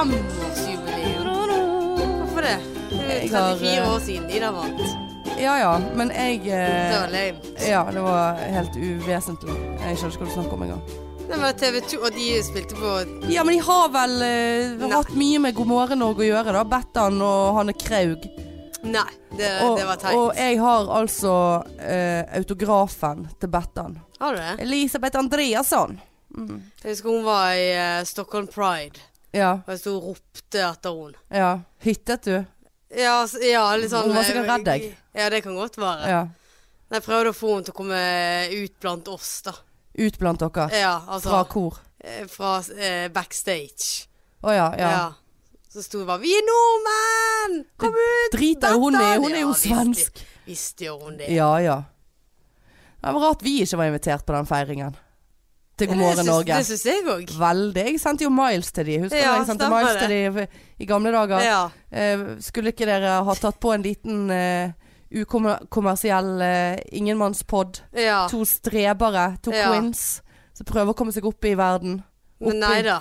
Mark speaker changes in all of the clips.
Speaker 1: femårsjubileum. Hvorfor det? Det er
Speaker 2: Jeg har,
Speaker 1: 34
Speaker 2: eh,
Speaker 1: år siden de der vant.
Speaker 2: Ja ja, men jeg
Speaker 1: Det var
Speaker 2: eh,
Speaker 1: lame.
Speaker 2: Ja, det var helt uvesentlig. Jeg skjønner ikke hva du snakker om engang.
Speaker 1: Det var TV 2, og de spilte på
Speaker 2: Ja, men de har vel eh,
Speaker 1: Nei.
Speaker 2: hatt mye med God morgen Norge å gjøre, da. Bettan og Hanne Kraug.
Speaker 1: Nei, det,
Speaker 2: Og,
Speaker 1: det var
Speaker 2: og
Speaker 1: teit.
Speaker 2: jeg har altså eh, autografen til Bettan.
Speaker 1: Har du det?
Speaker 2: Elisabeth Andreasson.
Speaker 1: Jeg husker hun var i eh, Stockholm Pride,
Speaker 2: Ja.
Speaker 1: og jeg sto og ropte etter hun.
Speaker 2: ja. Hyttet du?
Speaker 1: Ja, s- ja, litt sånn
Speaker 2: Hun var sikkert redd deg.
Speaker 1: Ja, det kan godt være.
Speaker 2: Ja.
Speaker 1: Jeg prøvde å få henne til å komme ut blant oss, da.
Speaker 2: Ut blant dere.
Speaker 1: Ja, altså
Speaker 2: Fra kor.
Speaker 1: eh, fra eh, backstage.
Speaker 2: Å ja, ja.
Speaker 1: Ja. Så sto det bare 'Vi er nordmenn! Kom ut!'
Speaker 2: Driter jo hun i.
Speaker 1: Bettan!»
Speaker 2: Hun er
Speaker 1: Ja,
Speaker 2: jo
Speaker 1: visst
Speaker 2: svensk.
Speaker 1: gjør- Visst gjør hun det.
Speaker 2: Ja ja. Det var rart vi ikke var invitert på den feiringen. Til God
Speaker 1: Det
Speaker 2: morgen
Speaker 1: syns-
Speaker 2: Norge.
Speaker 1: Det syns jeg òg.
Speaker 2: Veldig. Jeg sendte jo miles til de. Husker du
Speaker 1: Ja,
Speaker 2: jeg sendte
Speaker 1: stemmer
Speaker 2: miles til de i gamle dager?
Speaker 1: Ja.
Speaker 2: Eh, skulle ikke dere ha tatt på en liten eh, ukommersiell eh, ingenmannspod?
Speaker 1: ja.
Speaker 2: To strebere, to
Speaker 1: Ja.
Speaker 2: queens som prøver å komme seg opp i verden.
Speaker 1: Men nei da.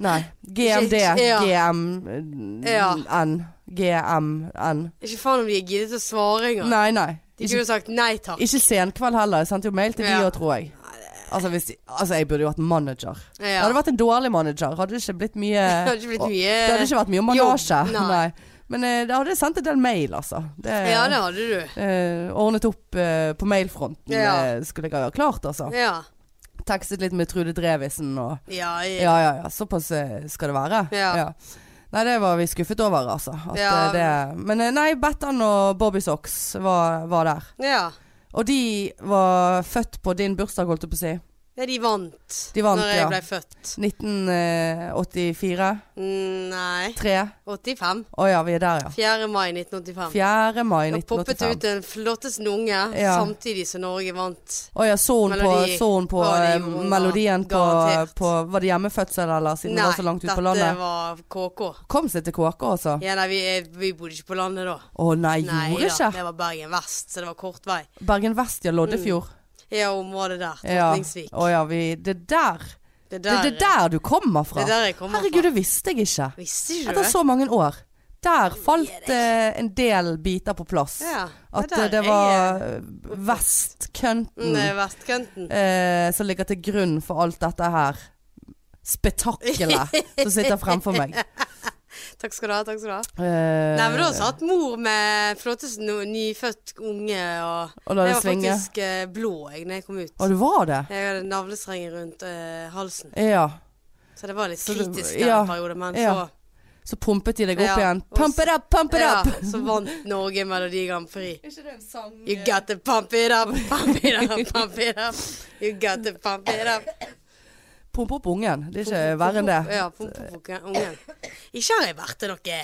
Speaker 2: Nei. GMD,
Speaker 1: Ja.
Speaker 2: GMN,
Speaker 1: Ja.
Speaker 2: GMN.
Speaker 1: Ikke faen om de har giddet å svare engang.
Speaker 2: Nei, nei.
Speaker 1: De
Speaker 2: Ikke,
Speaker 1: kunne sagt nei takk.
Speaker 2: ikke senkveld heller. Jeg sendte jo mail til de
Speaker 1: Ja.
Speaker 2: òg, tror jeg. Altså, hvis, de- altså, jeg burde jo hatt manager. Jeg
Speaker 1: Ja.
Speaker 2: hadde vært en dårlig manager. Hadde det ikke blitt mye
Speaker 1: Det hadde ikke blitt mye
Speaker 2: Det hadde ikke vært mye manasje.
Speaker 1: Jobb,
Speaker 2: Nei.
Speaker 1: Eh, nei.
Speaker 2: Men eh, det hadde jeg sendt en del mail, altså. Det,
Speaker 1: Ja, det hadde du.
Speaker 2: eh, ordnet opp eh, på mailfronten
Speaker 1: Ja.
Speaker 2: eh, skulle jeg ha klart, altså.
Speaker 1: Ja.
Speaker 2: Tekstet litt med Trude Drevisen og
Speaker 1: Ja, ja.
Speaker 2: Ja, ja, ja. Såpass eh, skal det være.
Speaker 1: Ja.
Speaker 2: Nei, det var vi skuffet over, altså. At,
Speaker 1: Ja.
Speaker 2: eh, det, men eh, nei, Bettan og Bobby Socks var, var der.
Speaker 1: ja.
Speaker 2: Og de var født på din bursdag, holdt jeg på å si.
Speaker 1: Ja, de vant.
Speaker 2: De vant,
Speaker 1: når jeg
Speaker 2: ja.
Speaker 1: ble født.
Speaker 2: eh, 1984?
Speaker 1: Mm, Nei
Speaker 2: 3?
Speaker 1: 85.
Speaker 2: Å ja, vi er der, ja.
Speaker 1: 4. mai 1985.
Speaker 2: 4. mai
Speaker 1: Da poppet det
Speaker 2: 1985.
Speaker 1: ut en flottest lunge
Speaker 2: Ja.
Speaker 1: samtidig som Norge vant.
Speaker 2: Å ja, så hun på,
Speaker 1: Melodi.
Speaker 2: så hun på
Speaker 1: Å, det
Speaker 2: eh,
Speaker 1: gjorde hun,
Speaker 2: melodien på,
Speaker 1: garantert.
Speaker 2: på Var det hjemmefødsel, eller? Siden det var så langt ut på
Speaker 1: dette
Speaker 2: landet.
Speaker 1: var KK.
Speaker 2: Kom seg til KK, altså. Å
Speaker 1: Ja, nei, vi, eh, vi bodde ikke på landet da.
Speaker 2: nei,
Speaker 1: Nei da,
Speaker 2: gjorde ikke.
Speaker 1: det var Bergen vest, så det var kort vei.
Speaker 2: Bergen vest, ja. Loddefjord.
Speaker 1: Mm, Ja, området der.
Speaker 2: Ja.
Speaker 1: Tortningsvik.
Speaker 2: Å ja, vi Det der.
Speaker 1: Det
Speaker 2: Det
Speaker 1: der,
Speaker 2: er det der du kommer fra.
Speaker 1: det der jeg kommer fra.
Speaker 2: Herregud, det visste jeg ikke.
Speaker 1: Visste ikke du
Speaker 2: Etter
Speaker 1: det?
Speaker 2: så mange år. Der falt eh, en del biter på plass.
Speaker 1: Ja,
Speaker 2: At
Speaker 1: der
Speaker 2: eh, det
Speaker 1: jeg
Speaker 2: var
Speaker 1: er. Mm,
Speaker 2: vestkønten
Speaker 1: det er vestkanten.
Speaker 2: eh, som ligger til grunn for alt dette her spetakkelet som sitter fremfor meg.
Speaker 1: Takk skal du ha. takk skal du ha
Speaker 2: Eh,
Speaker 1: Nei, men sånn. Da satt mor med flottest no- nyfødt unge og
Speaker 2: Og la det
Speaker 1: Jeg var
Speaker 2: svinge.
Speaker 1: faktisk eh, blå jeg når jeg kom ut.
Speaker 2: Å, det var det?
Speaker 1: Jeg hadde navlestrenger rundt eh, halsen.
Speaker 2: Ja.
Speaker 1: Så det var litt
Speaker 2: Så det-
Speaker 1: kritisk
Speaker 2: ja,
Speaker 1: den perioden. Men
Speaker 2: ja.
Speaker 1: så,
Speaker 2: Så pumpet de deg opp
Speaker 1: Ja,
Speaker 2: igjen.
Speaker 1: og
Speaker 2: Pump
Speaker 1: så-
Speaker 2: it up, pump it
Speaker 1: ja,
Speaker 2: up!
Speaker 1: så vant Norge Melodi Grand Prix.
Speaker 2: Er ikke det en sang
Speaker 1: You got to pump it up, pump it up, pump it up. You got to pump it up.
Speaker 2: Pump opp ungen. Det er ikke verre enn det.
Speaker 1: Ja, pump opp ungen. Ikke har jeg vært til noe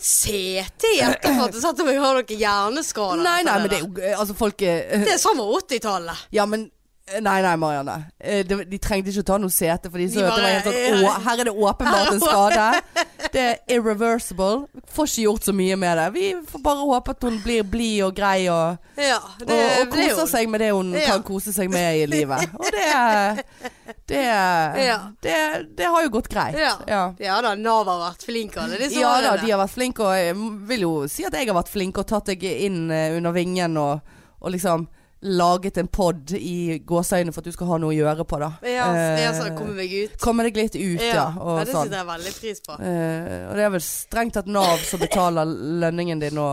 Speaker 1: CT i etterkant og sett om jeg har noe hjerneskader.
Speaker 2: Nei, nei,
Speaker 1: etter
Speaker 2: men det
Speaker 1: der.
Speaker 2: er jo eh, Altså, folk eh,
Speaker 1: Det er samme 80-tallet.
Speaker 2: Ja, men Nei, nei, Marianne. Eh, det- De trengte ikke å ta noe sete, for de så
Speaker 1: De
Speaker 2: at det var helt
Speaker 1: bare,
Speaker 2: sånn
Speaker 1: ja.
Speaker 2: Å, her er det åpenbart en skade. Det er irreversible. Får ikke gjort så mye med det. Vi får bare håpe at hun blir blid og grei og,
Speaker 1: Ja, det,
Speaker 2: og, og
Speaker 1: det er jo-
Speaker 2: koser seg med det hun
Speaker 1: Ja.
Speaker 2: kan kose seg med i livet. Og det Det,
Speaker 1: Ja.
Speaker 2: det, det har jo gått greit.
Speaker 1: Ja. Ja da, Nav har vært flink alle disse
Speaker 2: Ja da,
Speaker 1: årene.
Speaker 2: de har vært flinke, og jeg vil jo si at jeg har vært flink og tatt deg inn eh, under vingen og, og liksom laget en pod i gåseøynene for at du skal ha noe å gjøre på, da.
Speaker 1: ja,
Speaker 2: Eh,
Speaker 1: ja, så jeg kommer meg ut.
Speaker 2: komme deg litt ut, ja.
Speaker 1: Ja,
Speaker 2: Og
Speaker 1: det
Speaker 2: sånn.
Speaker 1: setter jeg veldig pris på.
Speaker 2: Eh, og det er vel strengt tatt Nav som betaler lønningen din nå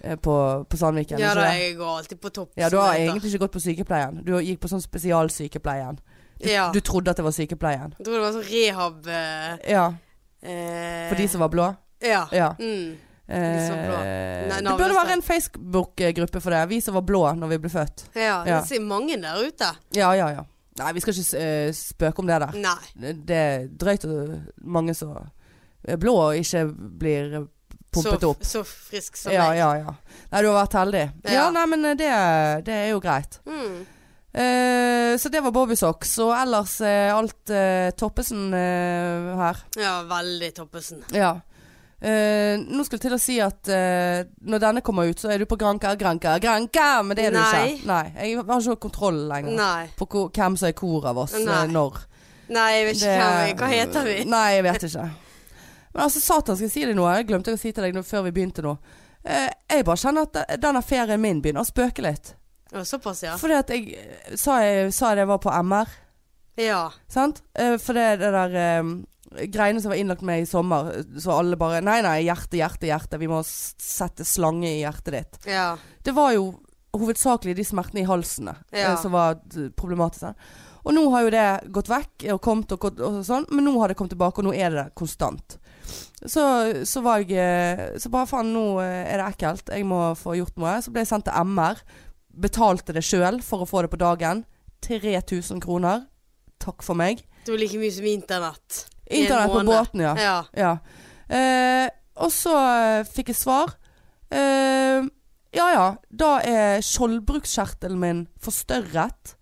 Speaker 2: eh, på, på Sandviken,
Speaker 1: Ja
Speaker 2: ikke
Speaker 1: da,
Speaker 2: det?
Speaker 1: jeg går alltid på topp.
Speaker 2: Ja, du
Speaker 1: som
Speaker 2: har
Speaker 1: det heter.
Speaker 2: egentlig ikke gått på sykepleien. Du gikk på sånn spesialsykepleien. Du,
Speaker 1: Ja.
Speaker 2: du trodde at det var sykepleien.
Speaker 1: Jeg tror det var sånn rehab eh,
Speaker 2: Ja.
Speaker 1: eh,
Speaker 2: For de som var blå.
Speaker 1: Ja.
Speaker 2: Ja.
Speaker 1: Mm.
Speaker 2: Eh,
Speaker 1: så blå. Nei,
Speaker 2: det burde
Speaker 1: navnløse.
Speaker 2: være en Facebook-gruppe for det. Vi som var blå når vi ble født.
Speaker 1: ja.
Speaker 2: Ja.
Speaker 1: Det ser mange der ute.
Speaker 2: Ja, ja, ja. Nei, vi skal ikke eh, spøke om det der.
Speaker 1: Nei.
Speaker 2: Det er drøyt og mange som er blå og ikke blir pumpet
Speaker 1: så,
Speaker 2: opp.
Speaker 1: Så frisk som
Speaker 2: Ja,
Speaker 1: meg.
Speaker 2: ja, ja. Nei, du har vært heldig. Ja,
Speaker 1: Ja.
Speaker 2: nei, men eh, det, det er jo greit.
Speaker 1: Mm.
Speaker 2: Eh, så det var Bobby Socks, og ellers eh, alt eh, Toppesen eh, her.
Speaker 1: ja, veldig Toppesen.
Speaker 2: Ja. Eh, nå skulle jeg til å si at eh, når denne kommer ut, så er du på Granka, Granka, Granka! Men det er du
Speaker 1: Nei.
Speaker 2: ikke. Nei. Jeg har ikke kontroll lenger
Speaker 1: Nei.
Speaker 2: på hvor, hvem som er hvor av oss eh,
Speaker 1: Nei.
Speaker 2: når.
Speaker 1: Nei, jeg vet ikke
Speaker 2: Det-
Speaker 1: hvem vi Hva heter vi?
Speaker 2: Nei, jeg vet ikke. Men altså, satan, skal jeg si deg noe? Jeg glemte å si til deg noe før vi begynte nå. Eh, jeg bare kjenner at denne ferien min begynner å spøke litt.
Speaker 1: Å, Såpass, ja.
Speaker 2: Fordi at jeg eh, sa jeg, sa jeg det var på MR,
Speaker 1: Ja.
Speaker 2: sant? Eh, for det, det der eh, greiene som var innlagt med i sommer, eh, så alle bare Nei, nei, hjerte, hjerte, hjerte. Vi må s- sette slange i hjertet ditt.
Speaker 1: Ja.
Speaker 2: Det var jo hovedsakelig de smertene i halsene
Speaker 1: Ja.
Speaker 2: eh, som var eh, problematiske. Og nå har jo det gått vekk og kommet og, gått- og sånn, men nå har det kommet tilbake, og nå er det der konstant. Så, så var jeg eh, Så bare faen, nå eh, er det ekkelt. Jeg må få gjort noe. Så ble jeg sendt til MR. Betalte det sjøl for å få det på dagen. 3000 kroner. Takk for meg.
Speaker 1: Det var like mye som internett. I en
Speaker 2: Internett på
Speaker 1: måned.
Speaker 2: båten, ja.
Speaker 1: Ja.
Speaker 2: Ja. Eh, og så eh, fikk jeg svar. Eh, ja ja, da er skjoldbruskkjertelen min forstørret.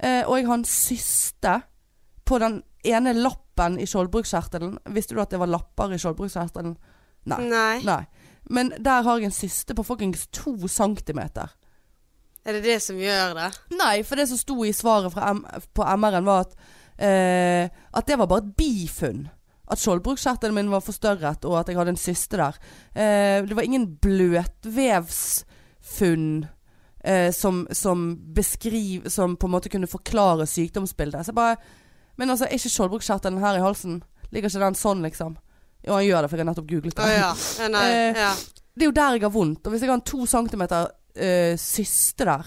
Speaker 2: Eh, og jeg har en syste på den ene lappen i skjoldbruskkjertelen. Visste du at det var lapper i skjoldbruskkjertelen? Nei.
Speaker 1: Nei.
Speaker 2: Nei. Men der har jeg en syste på fuckings to centimeter.
Speaker 1: Er det det som gjør det?
Speaker 2: Nei, for det som sto i svaret fra M på MR-en var at eh, At det var bare et bifunn. At skjoldbruskkjertelen min var forstørret, og at jeg hadde en syste der. Eh, det var ingen bløtvevsfunn eh, som, som beskriv Som på en måte kunne forklare sykdomsbildet. Så jeg bare Men altså, er ikke skjoldbruskkjertelen her i halsen? Ligger ikke den sånn, liksom? Jo, han gjør det, for jeg har nettopp googlet
Speaker 1: Å
Speaker 2: det.
Speaker 1: ja. Ja, Nei.
Speaker 2: Eh,
Speaker 1: Ja.
Speaker 2: Det er jo der jeg har vondt. Og hvis jeg har en to centimeter eh, syste der,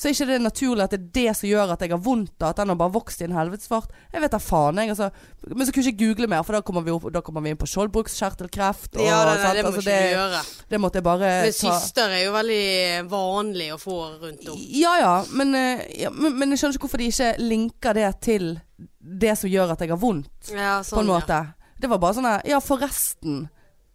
Speaker 2: så er ikke det naturlig at det er det som gjør at jeg har vondt. Da, at den har bare vokst i en helvetesfart. Jeg vet da faen, jeg. Altså. Men så kunne jeg ikke google mer, for da kommer vi, opp, da kommer vi inn på skjoldbruskkjertelkreft. og
Speaker 1: Ja, nei, nei,
Speaker 2: sant,
Speaker 1: det må
Speaker 2: altså,
Speaker 1: ikke du gjøre.
Speaker 2: det måtte jeg bare
Speaker 1: Men
Speaker 2: ta
Speaker 1: syster er jo veldig vanlig å få rundt om.
Speaker 2: ja ja men, eh, ja, men men jeg skjønner ikke hvorfor de ikke linker det til det som gjør at jeg har vondt.
Speaker 1: Ja,
Speaker 2: på en
Speaker 1: sånn, ja.
Speaker 2: måte. Det var bare sånn her Ja, forresten.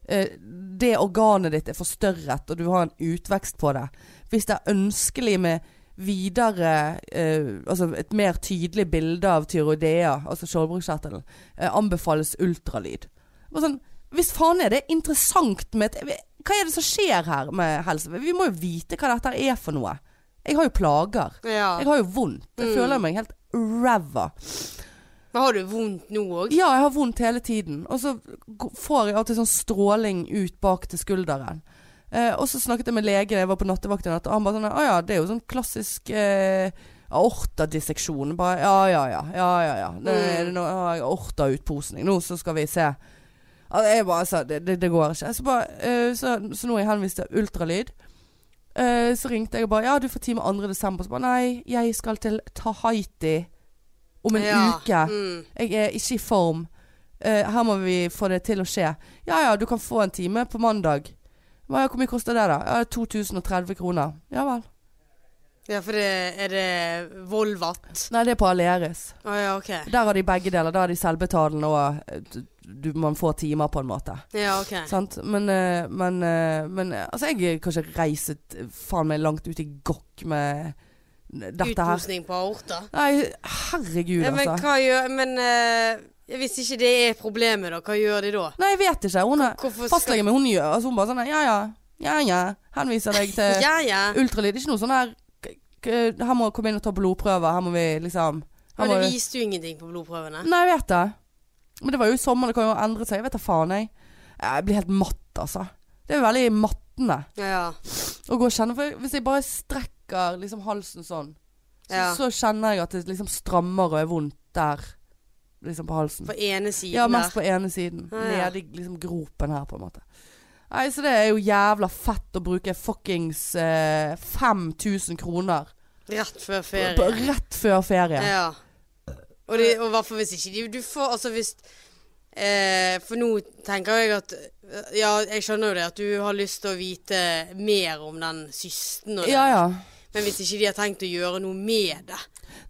Speaker 2: eh, Det organet ditt er forstørret, og du har en utvekst på det. Hvis det er ønskelig med videre eh, Altså et mer tydelig bilde av tyroidea, altså skjoldbruskkjertelen, eh, anbefales ultralyd. Bare sånn Hvis faen er det interessant med et Hva er det som skjer her med helse? Vi må jo vite hva dette er for noe. Jeg har jo plager.
Speaker 1: Ja.
Speaker 2: Jeg har jo vondt. Jeg
Speaker 1: Mm.
Speaker 2: føler meg helt ræva.
Speaker 1: Men har du vondt nå òg?
Speaker 2: Ja, jeg har vondt hele tiden. Og så g- får jeg alltid sånn stråling ut bak til skulderen. Eh, og så snakket jeg med legen jeg var på nattevakt i natt, og han bare sånn Å ja, det er jo sånn klassisk eh, aortadisseksjon. Bare ja, ja, ja. Ja, ja, ja. Det,
Speaker 1: Mm.
Speaker 2: er det noe, ja, aortautposning. Nå så skal vi se. Altså, jeg bare sa det, det, det går ikke. Så, bare, eh, så, så nå er jeg henvist til ultralyd. Eh, så ringte jeg og bare Ja, du får time 2. desember. Så bare Nei, jeg skal til Tahiti om en
Speaker 1: ja.
Speaker 2: uke.
Speaker 1: Mm.
Speaker 2: Jeg er ikke i form. Eh, her må vi få det til å skje. Ja ja, du kan få en time på mandag. Hva, hvor mye koster det, da? Ja, 2030 kroner. Ja vel.
Speaker 1: Ja, for det er det Volvat?
Speaker 2: Nei, det er på Aleris.
Speaker 1: Å ja, OK.
Speaker 2: Der har de begge deler. Der har de selvbetalende og eh, du, man får timer, på en måte.
Speaker 1: Ja, OK.
Speaker 2: Sant? Men, eh, men, eh, men eh, altså, jeg kan ikke reise t- eh, faen meg langt ut i gokk med dette her.
Speaker 1: Utposning på aorta?
Speaker 2: Nei, herregud,
Speaker 1: Ja, men
Speaker 2: altså.
Speaker 1: hva gjør Men eh, hvis ikke det er problemet, da, hva gjør de da?
Speaker 2: Nei, jeg vet ikke. Hun er
Speaker 1: Hvorfor skal
Speaker 2: fastlegen min. Hun gjør altså, hun bare sånn Ja ja. Ja ja. Henviser deg til
Speaker 1: Ja, ja.
Speaker 2: Ultralyd. Ikke noe sånn her k- k- Her må komme inn og ta blodprøver. Her må vi liksom her
Speaker 1: Men
Speaker 2: må Mm.
Speaker 1: det
Speaker 2: vi.
Speaker 1: viste jo ingenting på blodprøvene.
Speaker 2: Nei, jeg vet det. Men det var jo i sommer. Det kan jo endre seg. Jeg vet da faen, jeg. Jeg blir helt matt, altså. Det er jo veldig mattende
Speaker 1: Ja, ja.
Speaker 2: å gå og kjenne. For hvis jeg bare strekker liksom halsen sånn, så,
Speaker 1: Ja.
Speaker 2: så kjenner jeg at det liksom strammer og er vondt der. Liksom på halsen.
Speaker 1: På ene siden
Speaker 2: Ja,
Speaker 1: der.
Speaker 2: mest på ene siden.
Speaker 1: Ja, ja.
Speaker 2: Nede i liksom gropen her, på en måte. Nei, så det er jo jævla fett å bruke fuckings eh, 5000 kroner
Speaker 1: Rett før
Speaker 2: på,
Speaker 1: ferie.
Speaker 2: rett før ferie.
Speaker 1: Ja. Og det- og i hvert fall hvis ikke de Du får altså hvis eh, For nå tenker jeg at Ja, jeg skjønner jo det at du har lyst til å vite mer om den systen og det.
Speaker 2: Ja, ja.
Speaker 1: Men hvis ikke de har tenkt å gjøre noe med det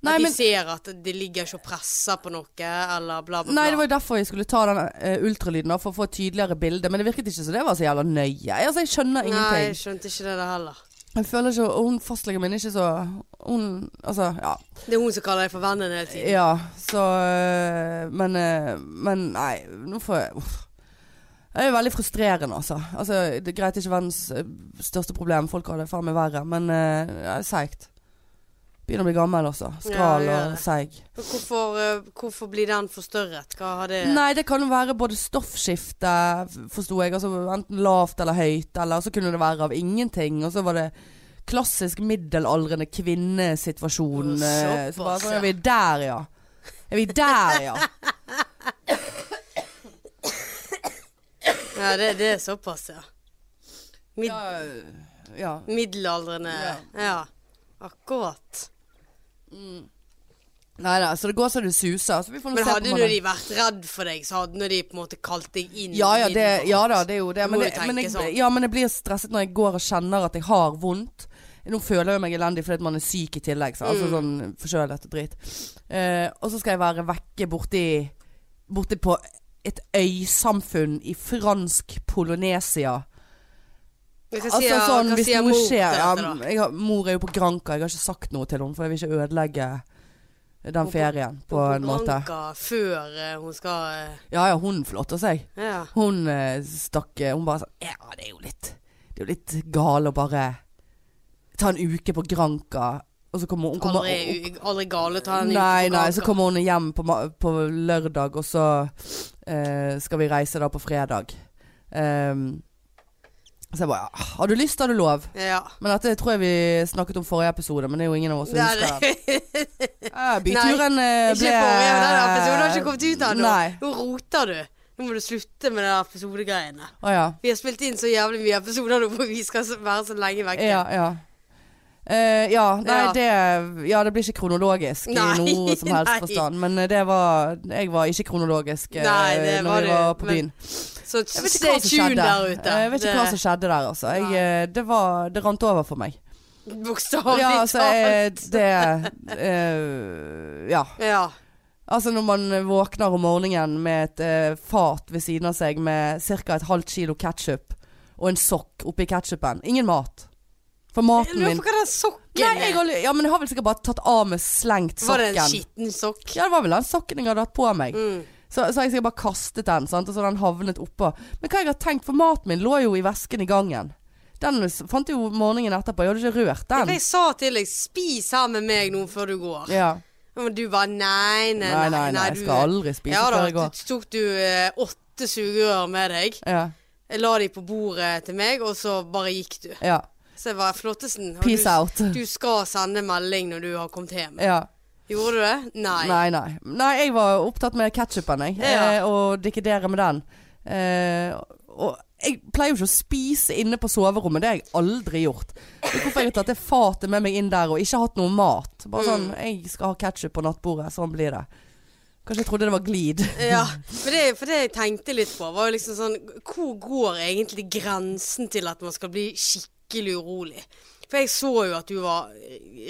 Speaker 2: Nei,
Speaker 1: At de
Speaker 2: men-
Speaker 1: ser at det ligger ikke og presser på noe, eller bla, bla, bla.
Speaker 2: Nei, det var jo derfor jeg skulle ta den eh, ultralyden da, for å få et tydeligere bilde. Men det virket ikke som det var så jævla nøye. Jeg- Altså, jeg skjønner
Speaker 1: Nei, jeg
Speaker 2: ingenting.
Speaker 1: skjønte ikke det der heller.
Speaker 2: Jeg føler ikke Og hun fastlegen min er ikke så Hun Altså, ja.
Speaker 1: Det er hun som kaller deg for vennen hele tiden.
Speaker 2: Ja, så øh, Men, øh, men nei, nå får jeg uff. Det er veldig frustrerende, altså. altså det er eh, greit det er ikke verdens øh, største problem, folk har det faen meg verre, men øh, det er eh, seigt. Begynner å bli gammel også.
Speaker 1: Ja,
Speaker 2: Skral
Speaker 1: det gjør
Speaker 2: og
Speaker 1: det.
Speaker 2: seig.
Speaker 1: Men Hvorfor, eh, hvorfor blir den forstørret? Hva har det
Speaker 2: Nei, det kan jo være både stoffskifte, f- forsto jeg. Altså enten lavt eller høyt, eller så kunne det være av ingenting. Og så var det klassisk middelaldrende kvinnesituasjon.
Speaker 1: Å,
Speaker 2: eh, Så bare
Speaker 1: såpass,
Speaker 2: sånn,
Speaker 1: ja.
Speaker 2: er vi der, ja. Er vi der, ja.
Speaker 1: Ja, det, det er såpass, ja. Mid
Speaker 2: ja.
Speaker 1: Middelaldrende ja. Akkurat.
Speaker 2: Nei da, så det går så det suser. Så vi får nå
Speaker 1: Men
Speaker 2: se på
Speaker 1: hadde nå
Speaker 2: mandag.
Speaker 1: de vært redd for deg, så hadde nå de på en måte kalt deg inn
Speaker 2: Ja ja,
Speaker 1: i
Speaker 2: det,
Speaker 1: den.
Speaker 2: ja da, det er jo det.
Speaker 1: Du
Speaker 2: Men,
Speaker 1: må
Speaker 2: det,
Speaker 1: jo tenke
Speaker 2: men, jeg,
Speaker 1: sånn.
Speaker 2: ja, men jeg blir stresset når jeg går og kjenner at jeg har vondt. Nå føler jeg meg elendig fordi at man er syk i tillegg. Så.
Speaker 1: Mm.
Speaker 2: Altså sånn forkjølet og drit. Eh, og så skal jeg være vekke borti Borti på et øysamfunn i fransk Polynesia.
Speaker 1: Hva
Speaker 2: Altså
Speaker 1: sier,
Speaker 2: sånn
Speaker 1: hva
Speaker 2: hvis
Speaker 1: sier
Speaker 2: noe
Speaker 1: mor til
Speaker 2: skjer ja,
Speaker 1: dette, da?
Speaker 2: jeg har, Mor er jo på Granca, jeg har ikke sagt noe til henne, for jeg vil ikke ødelegge den
Speaker 1: på-
Speaker 2: ferien på
Speaker 1: Hun
Speaker 2: en måte.
Speaker 1: ranker Før eh, hun skal eh,
Speaker 2: Ja ja, hun flotter seg.
Speaker 1: Ja.
Speaker 2: Hun eh, stakk eh, Hun bare sånn Ja, det er jo litt Det er jo litt gal å bare ta en uke på Granka, og så kommer hun kommer,
Speaker 1: Aldri, aldri gale å ta en
Speaker 2: Nei,
Speaker 1: uke på
Speaker 2: nei,
Speaker 1: kaka.
Speaker 2: så kommer hun hjem på, ma- på lørdag, og så eh, skal vi reise da på fredag. Ehm, så jeg bare ja, Har du lyst, har du lov.
Speaker 1: Ja.
Speaker 2: Men dette tror jeg vi snakket om forrige episode, men det er jo ingen av oss som
Speaker 1: Det er
Speaker 2: husker den. Ja, byturen eh,
Speaker 1: Ikke
Speaker 2: ble
Speaker 1: forrige, den episoden har ikke kommet ut ennå.
Speaker 2: Nei.
Speaker 1: Nå roter du. Nå må du slutte med de episodegreiene.
Speaker 2: Å ja.
Speaker 1: Vi har spilt inn så jævlig mye episoder nå, for vi skal så- være så lenge vekke.
Speaker 2: Ja, ja. Eh, ja, nei,
Speaker 1: Ja.
Speaker 2: Det, ja, det blir ikke kronologisk
Speaker 1: Nei,
Speaker 2: i noe som helst
Speaker 1: nei.
Speaker 2: forstand. Men eh, det var, jeg var ikke kronologisk eh,
Speaker 1: Nei, det
Speaker 2: når
Speaker 1: var
Speaker 2: vi
Speaker 1: du,
Speaker 2: var på
Speaker 1: men
Speaker 2: byen.
Speaker 1: Så
Speaker 2: Jeg vet ikke
Speaker 1: stay
Speaker 2: hva som
Speaker 1: tuned
Speaker 2: skjedde Eh,
Speaker 1: der ute.
Speaker 2: Jeg vet ikke hva som skjedde der, altså. Jeg,
Speaker 1: Nei.
Speaker 2: eh, det, var, det rant over for meg.
Speaker 1: Det- Bokstavelig
Speaker 2: Ja, altså, eh,
Speaker 1: talt.
Speaker 2: det eh, Ja.
Speaker 1: Ja.
Speaker 2: Altså når man våkner om morgenen med et eh, fat ved siden av seg med ca. et halvt kilo ketsjup og en sokk oppi ketsjupen. Ingen mat. For
Speaker 1: Jeg
Speaker 2: maten
Speaker 1: lurer
Speaker 2: min
Speaker 1: på hva den sokken
Speaker 2: Nei, jeg
Speaker 1: er.
Speaker 2: har, ja, men jeg har vel sikkert bare tatt av meg slengt sokken.
Speaker 1: Var det en skitten sokk?
Speaker 2: Ja, det var vel den sokken jeg hadde hatt på meg.
Speaker 1: Mm.
Speaker 2: Så, så har jeg sikkert bare kastet den, sant? og så har den havnet oppå. Men hva jeg har tenkt, for maten min lå jo i vesken i gangen. Den s- fant jeg jo morgenen etterpå, jeg hadde ikke rørt
Speaker 1: For
Speaker 2: den.
Speaker 1: Jeg sa til deg 'spis her med meg nå før du går'.
Speaker 2: Ja.
Speaker 1: Men du bare nei, nei,
Speaker 2: Nei, nei, nei, jeg
Speaker 1: du-
Speaker 2: skal aldri spise
Speaker 1: ja,
Speaker 2: før jeg
Speaker 1: da,
Speaker 2: går.
Speaker 1: så tok du eh, åtte sugerør med deg.
Speaker 2: Ja,
Speaker 1: Jeg la de på bordet til meg, og så bare gikk du.
Speaker 2: ja.
Speaker 1: Så jeg var flottesen. og
Speaker 2: Peace
Speaker 1: du,
Speaker 2: out.
Speaker 1: Du skal sende melding når du har kommet hjem.
Speaker 2: Ja.
Speaker 1: Gjorde du det? Nei.
Speaker 2: Nei, nei. Nei, jeg var opptatt med ketsjupen, jeg.
Speaker 1: Ja.
Speaker 2: Eh, og dikkedere med den. Eh, og jeg pleier jo ikke å spise inne på soverommet, det har jeg aldri gjort. Så hvorfor jeg har tatt det fatet med meg inn der og ikke hatt noe mat. Bare sånn,
Speaker 1: Mm.
Speaker 2: jeg skal ha ketsjup på nattbordet, sånn blir det. Kanskje jeg trodde det var glid.
Speaker 1: Ja, for det, for det jeg tenkte litt på, var jo liksom sånn Hvor går egentlig grensen til at man skal bli skikkelig urolig? For jeg så jo at du var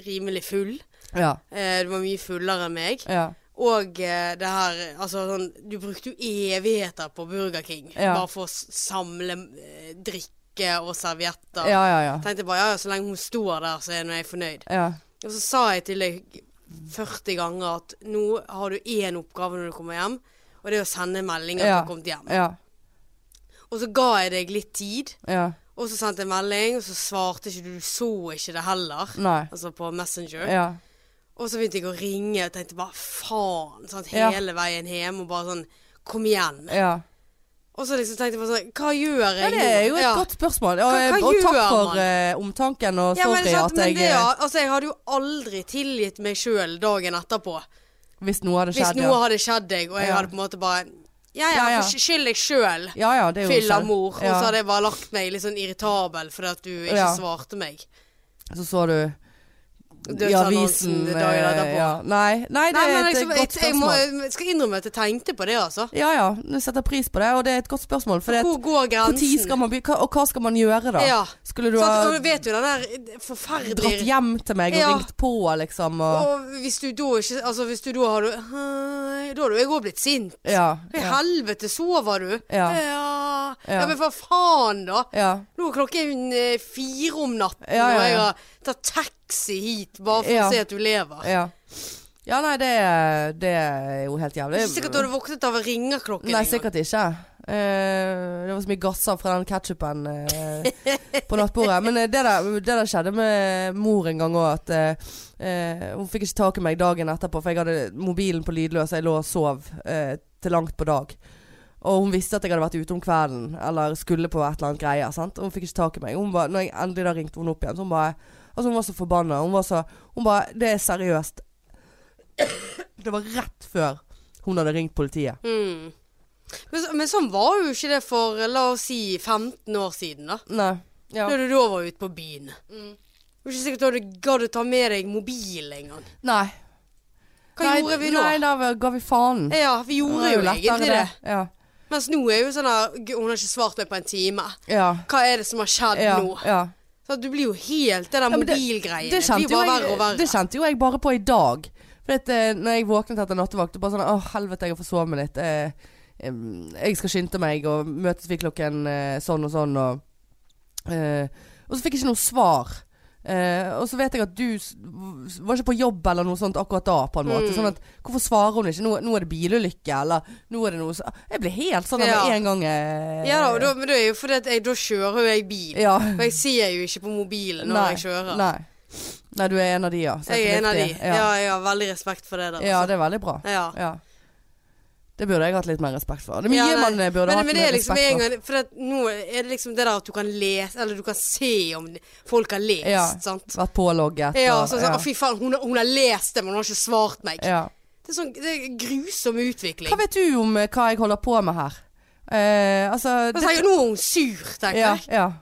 Speaker 1: rimelig full.
Speaker 2: Ja,
Speaker 1: Eh, Du var mye fullere enn meg.
Speaker 2: ja,
Speaker 1: Og eh, det her Altså sånn Du brukte jo evigheter på Burger King.
Speaker 2: Ja.
Speaker 1: Bare for å s- samle eh, drikke og servietter.
Speaker 2: ja, ja. ja.
Speaker 1: Tenkte bare ja, ja, så lenge hun står der, så er nå jeg fornøyd.
Speaker 2: ja.
Speaker 1: Og så sa jeg til deg 40 ganger at nå har du én oppgave når du kommer hjem, og det er å sende melding at
Speaker 2: Ja.
Speaker 1: du har kommet hjem.
Speaker 2: Ja,
Speaker 1: Og så ga jeg deg litt tid,
Speaker 2: ja.
Speaker 1: og så sendte jeg melding, og så svarte ikke du, du så ikke det heller.
Speaker 2: Nei.
Speaker 1: Altså på Messenger.
Speaker 2: Ja.
Speaker 1: Og så begynte jeg å ringe og tenkte bare faen, sant,
Speaker 2: Ja.
Speaker 1: hele veien hjem og bare sånn Kom igjen.
Speaker 2: Ja.
Speaker 1: Og så liksom tenkte jeg bare sånn Hva gjør
Speaker 2: ja,
Speaker 1: jeg
Speaker 2: det er jo et
Speaker 1: Ja.
Speaker 2: godt spørsmål. Og,
Speaker 1: Hva- hva
Speaker 2: og takk
Speaker 1: gjør
Speaker 2: for
Speaker 1: man?
Speaker 2: eh, omtanken, og
Speaker 1: Ja, men,
Speaker 2: sorry
Speaker 1: sant,
Speaker 2: at
Speaker 1: men
Speaker 2: jeg
Speaker 1: det, ja, altså, jeg hadde jo aldri tilgitt meg sjøl dagen etterpå.
Speaker 2: eh, Hvis noe hadde
Speaker 1: Hvis
Speaker 2: skjedd,
Speaker 1: noe hadde skjedd deg, og jeg
Speaker 2: Ja.
Speaker 1: hadde på en måte bare Ja ja,
Speaker 2: Ja, ja.
Speaker 1: for skyld deg sjøl.
Speaker 2: Ja, ja, det er jo
Speaker 1: Fyll av
Speaker 2: skjedd.
Speaker 1: mor. Og
Speaker 2: Ja.
Speaker 1: så hadde jeg bare lagt meg litt sånn irritabel fordi at du ikke
Speaker 2: Ja.
Speaker 1: svarte meg.
Speaker 2: Så så du i avisen
Speaker 1: Dødsannonsen dagen
Speaker 2: eh,
Speaker 1: etterpå.
Speaker 2: ja. Nei, nei, det
Speaker 1: Nei,
Speaker 2: er
Speaker 1: men
Speaker 2: et
Speaker 1: liksom,
Speaker 2: eh,
Speaker 1: jeg,
Speaker 2: godt
Speaker 1: jeg, må,
Speaker 2: spørsmål.
Speaker 1: jeg skal innrømme at jeg tenkte på det, altså.
Speaker 2: Ja ja, jeg setter pris på det, og det er et godt spørsmål. For det,
Speaker 1: Hvor går
Speaker 2: hvor tid
Speaker 1: grensen?
Speaker 2: skal man, bli- hva- og hva skal man gjøre da?
Speaker 1: Ja.
Speaker 2: Skulle du
Speaker 1: Sant,
Speaker 2: ha
Speaker 1: og du vet jo den der
Speaker 2: dratt
Speaker 1: forferdelige
Speaker 2: hjem til meg og
Speaker 1: Ja.
Speaker 2: ringt på, liksom? Og,
Speaker 1: Og hvis du da ikke Altså, hvis du da har du Hei, Da hadde jo jeg òg blitt sint.
Speaker 2: ja,
Speaker 1: I
Speaker 2: ja,
Speaker 1: helvete, sover du?
Speaker 2: Ja.
Speaker 1: ja.
Speaker 2: Ja.
Speaker 1: Ja, men hva faen, da?
Speaker 2: ja,
Speaker 1: Nå er klokken eh, fire om natten,
Speaker 2: Ja, ja,
Speaker 1: og jeg
Speaker 2: ja.
Speaker 1: har tatt taxi hit bare for
Speaker 2: Ja.
Speaker 1: å se at du lever.
Speaker 2: ja. Ja, nei, det, er- det er jo helt
Speaker 1: Det
Speaker 2: jævlig.
Speaker 1: er ikke sikkert du hadde våknet av ringerklokken.
Speaker 2: Nei,
Speaker 1: engang.
Speaker 2: sikkert ikke. Eh, det var så mye gasser fra den ketsjupen på nattbordet. Men eh, det, der, det der skjedde med mor en gang òg. At eh, eh, hun fikk ikke tak i meg dagen etterpå, for jeg hadde mobilen på lydløs. Jeg lå og sov eh, til langt på dag. Og hun visste at jeg hadde vært ute om kvelden, eller skulle på et eller annet greie. Sant? Og hun fikk ikke tak i meg. Hun ba, når jeg endelig da ringte hun opp igjen, så hun bare Altså, hun var så forbanna. Hun var så Hun bare Det er seriøst. Det var rett før hun hadde ringt politiet.
Speaker 1: Mm. Men, så- men sånn var jo ikke det for, la oss si, 15 år siden, da.
Speaker 2: Nei. Ja. Mm.
Speaker 1: Når du da var ute på byen. Det var ikke sikkert du hadde gadd å ta med deg mobil engang.
Speaker 2: Nei.
Speaker 1: Hva
Speaker 2: nei,
Speaker 1: gjorde vi nå?
Speaker 2: Nei, da ga vi faen.
Speaker 1: Ja, vi gjorde jo
Speaker 2: lettere
Speaker 1: egentlig det.
Speaker 2: Ja.
Speaker 1: Mens nå er jo sånn her "Gud, Hun har ikke svart meg på en time.
Speaker 2: Ja.
Speaker 1: Hva er det som har skjedd
Speaker 2: ja,
Speaker 1: nå?
Speaker 2: ja.
Speaker 1: Så du blir jo helt Det der
Speaker 2: men det-
Speaker 1: mobilgreiene
Speaker 2: Det
Speaker 1: blir
Speaker 2: kjente,
Speaker 1: jo
Speaker 2: jo
Speaker 1: bare
Speaker 2: jeg,
Speaker 1: verre og verre.
Speaker 2: det kjente jo jeg bare på i dag. For at, eh, når jeg våknet etter nattevakt, det bare sånn Å, helvete, jeg har forsovet meg litt. Eh, em, jeg skal skynde meg, og møtes vi klokken eh, sånn og sånn, og eh, Og så fikk jeg ikke noe svar. Eh, og så vet jeg at du s- v- var ikke på jobb eller noe sånt akkurat da, på en måte.
Speaker 1: Mm.
Speaker 2: Sånn at hvorfor svarer hun ikke? Nå, nå er det bilulykke, eller nå er det noe så Jeg ble helt sånn
Speaker 1: Ja.
Speaker 2: med en gang. Eh,
Speaker 1: ja da, og da, men det er jo fordi at jeg, da kjører jo jeg bil.
Speaker 2: Ja.
Speaker 1: For jeg ser jo ikke på mobilen når jeg kjører.
Speaker 2: Nei. nei, du er en av de, ja.
Speaker 1: Jeg er en av de.
Speaker 2: Selvfølgelig.
Speaker 1: Ja, jeg har veldig respekt for det der.
Speaker 2: Ja,
Speaker 1: altså.
Speaker 2: det er veldig bra.
Speaker 1: ja.
Speaker 2: Ja. Det burde jeg hatt litt mer respekt for. Det er mye
Speaker 1: Ja, nei.
Speaker 2: man eh, burde
Speaker 1: Men,
Speaker 2: hatt
Speaker 1: men det
Speaker 2: mer
Speaker 1: er liksom
Speaker 2: respekt
Speaker 1: en
Speaker 2: for.
Speaker 1: gang For at nå er det liksom det der at du kan lese Eller du kan se om folk har lest,
Speaker 2: Ja.
Speaker 1: sant.
Speaker 2: Vært pålogget.
Speaker 1: Ja,
Speaker 2: og-
Speaker 1: sånn sånn, «Å, fy faen, hun, har- hun har lest det, men hun har ikke svart meg.
Speaker 2: ja.
Speaker 1: Det er sånn det er grusom utvikling.
Speaker 2: Hva vet du om eh, hva jeg holder på med her? Eh, altså
Speaker 1: Og så tenker jeg, nå er hun sur, tenker
Speaker 2: ja,
Speaker 1: jeg.
Speaker 2: ja,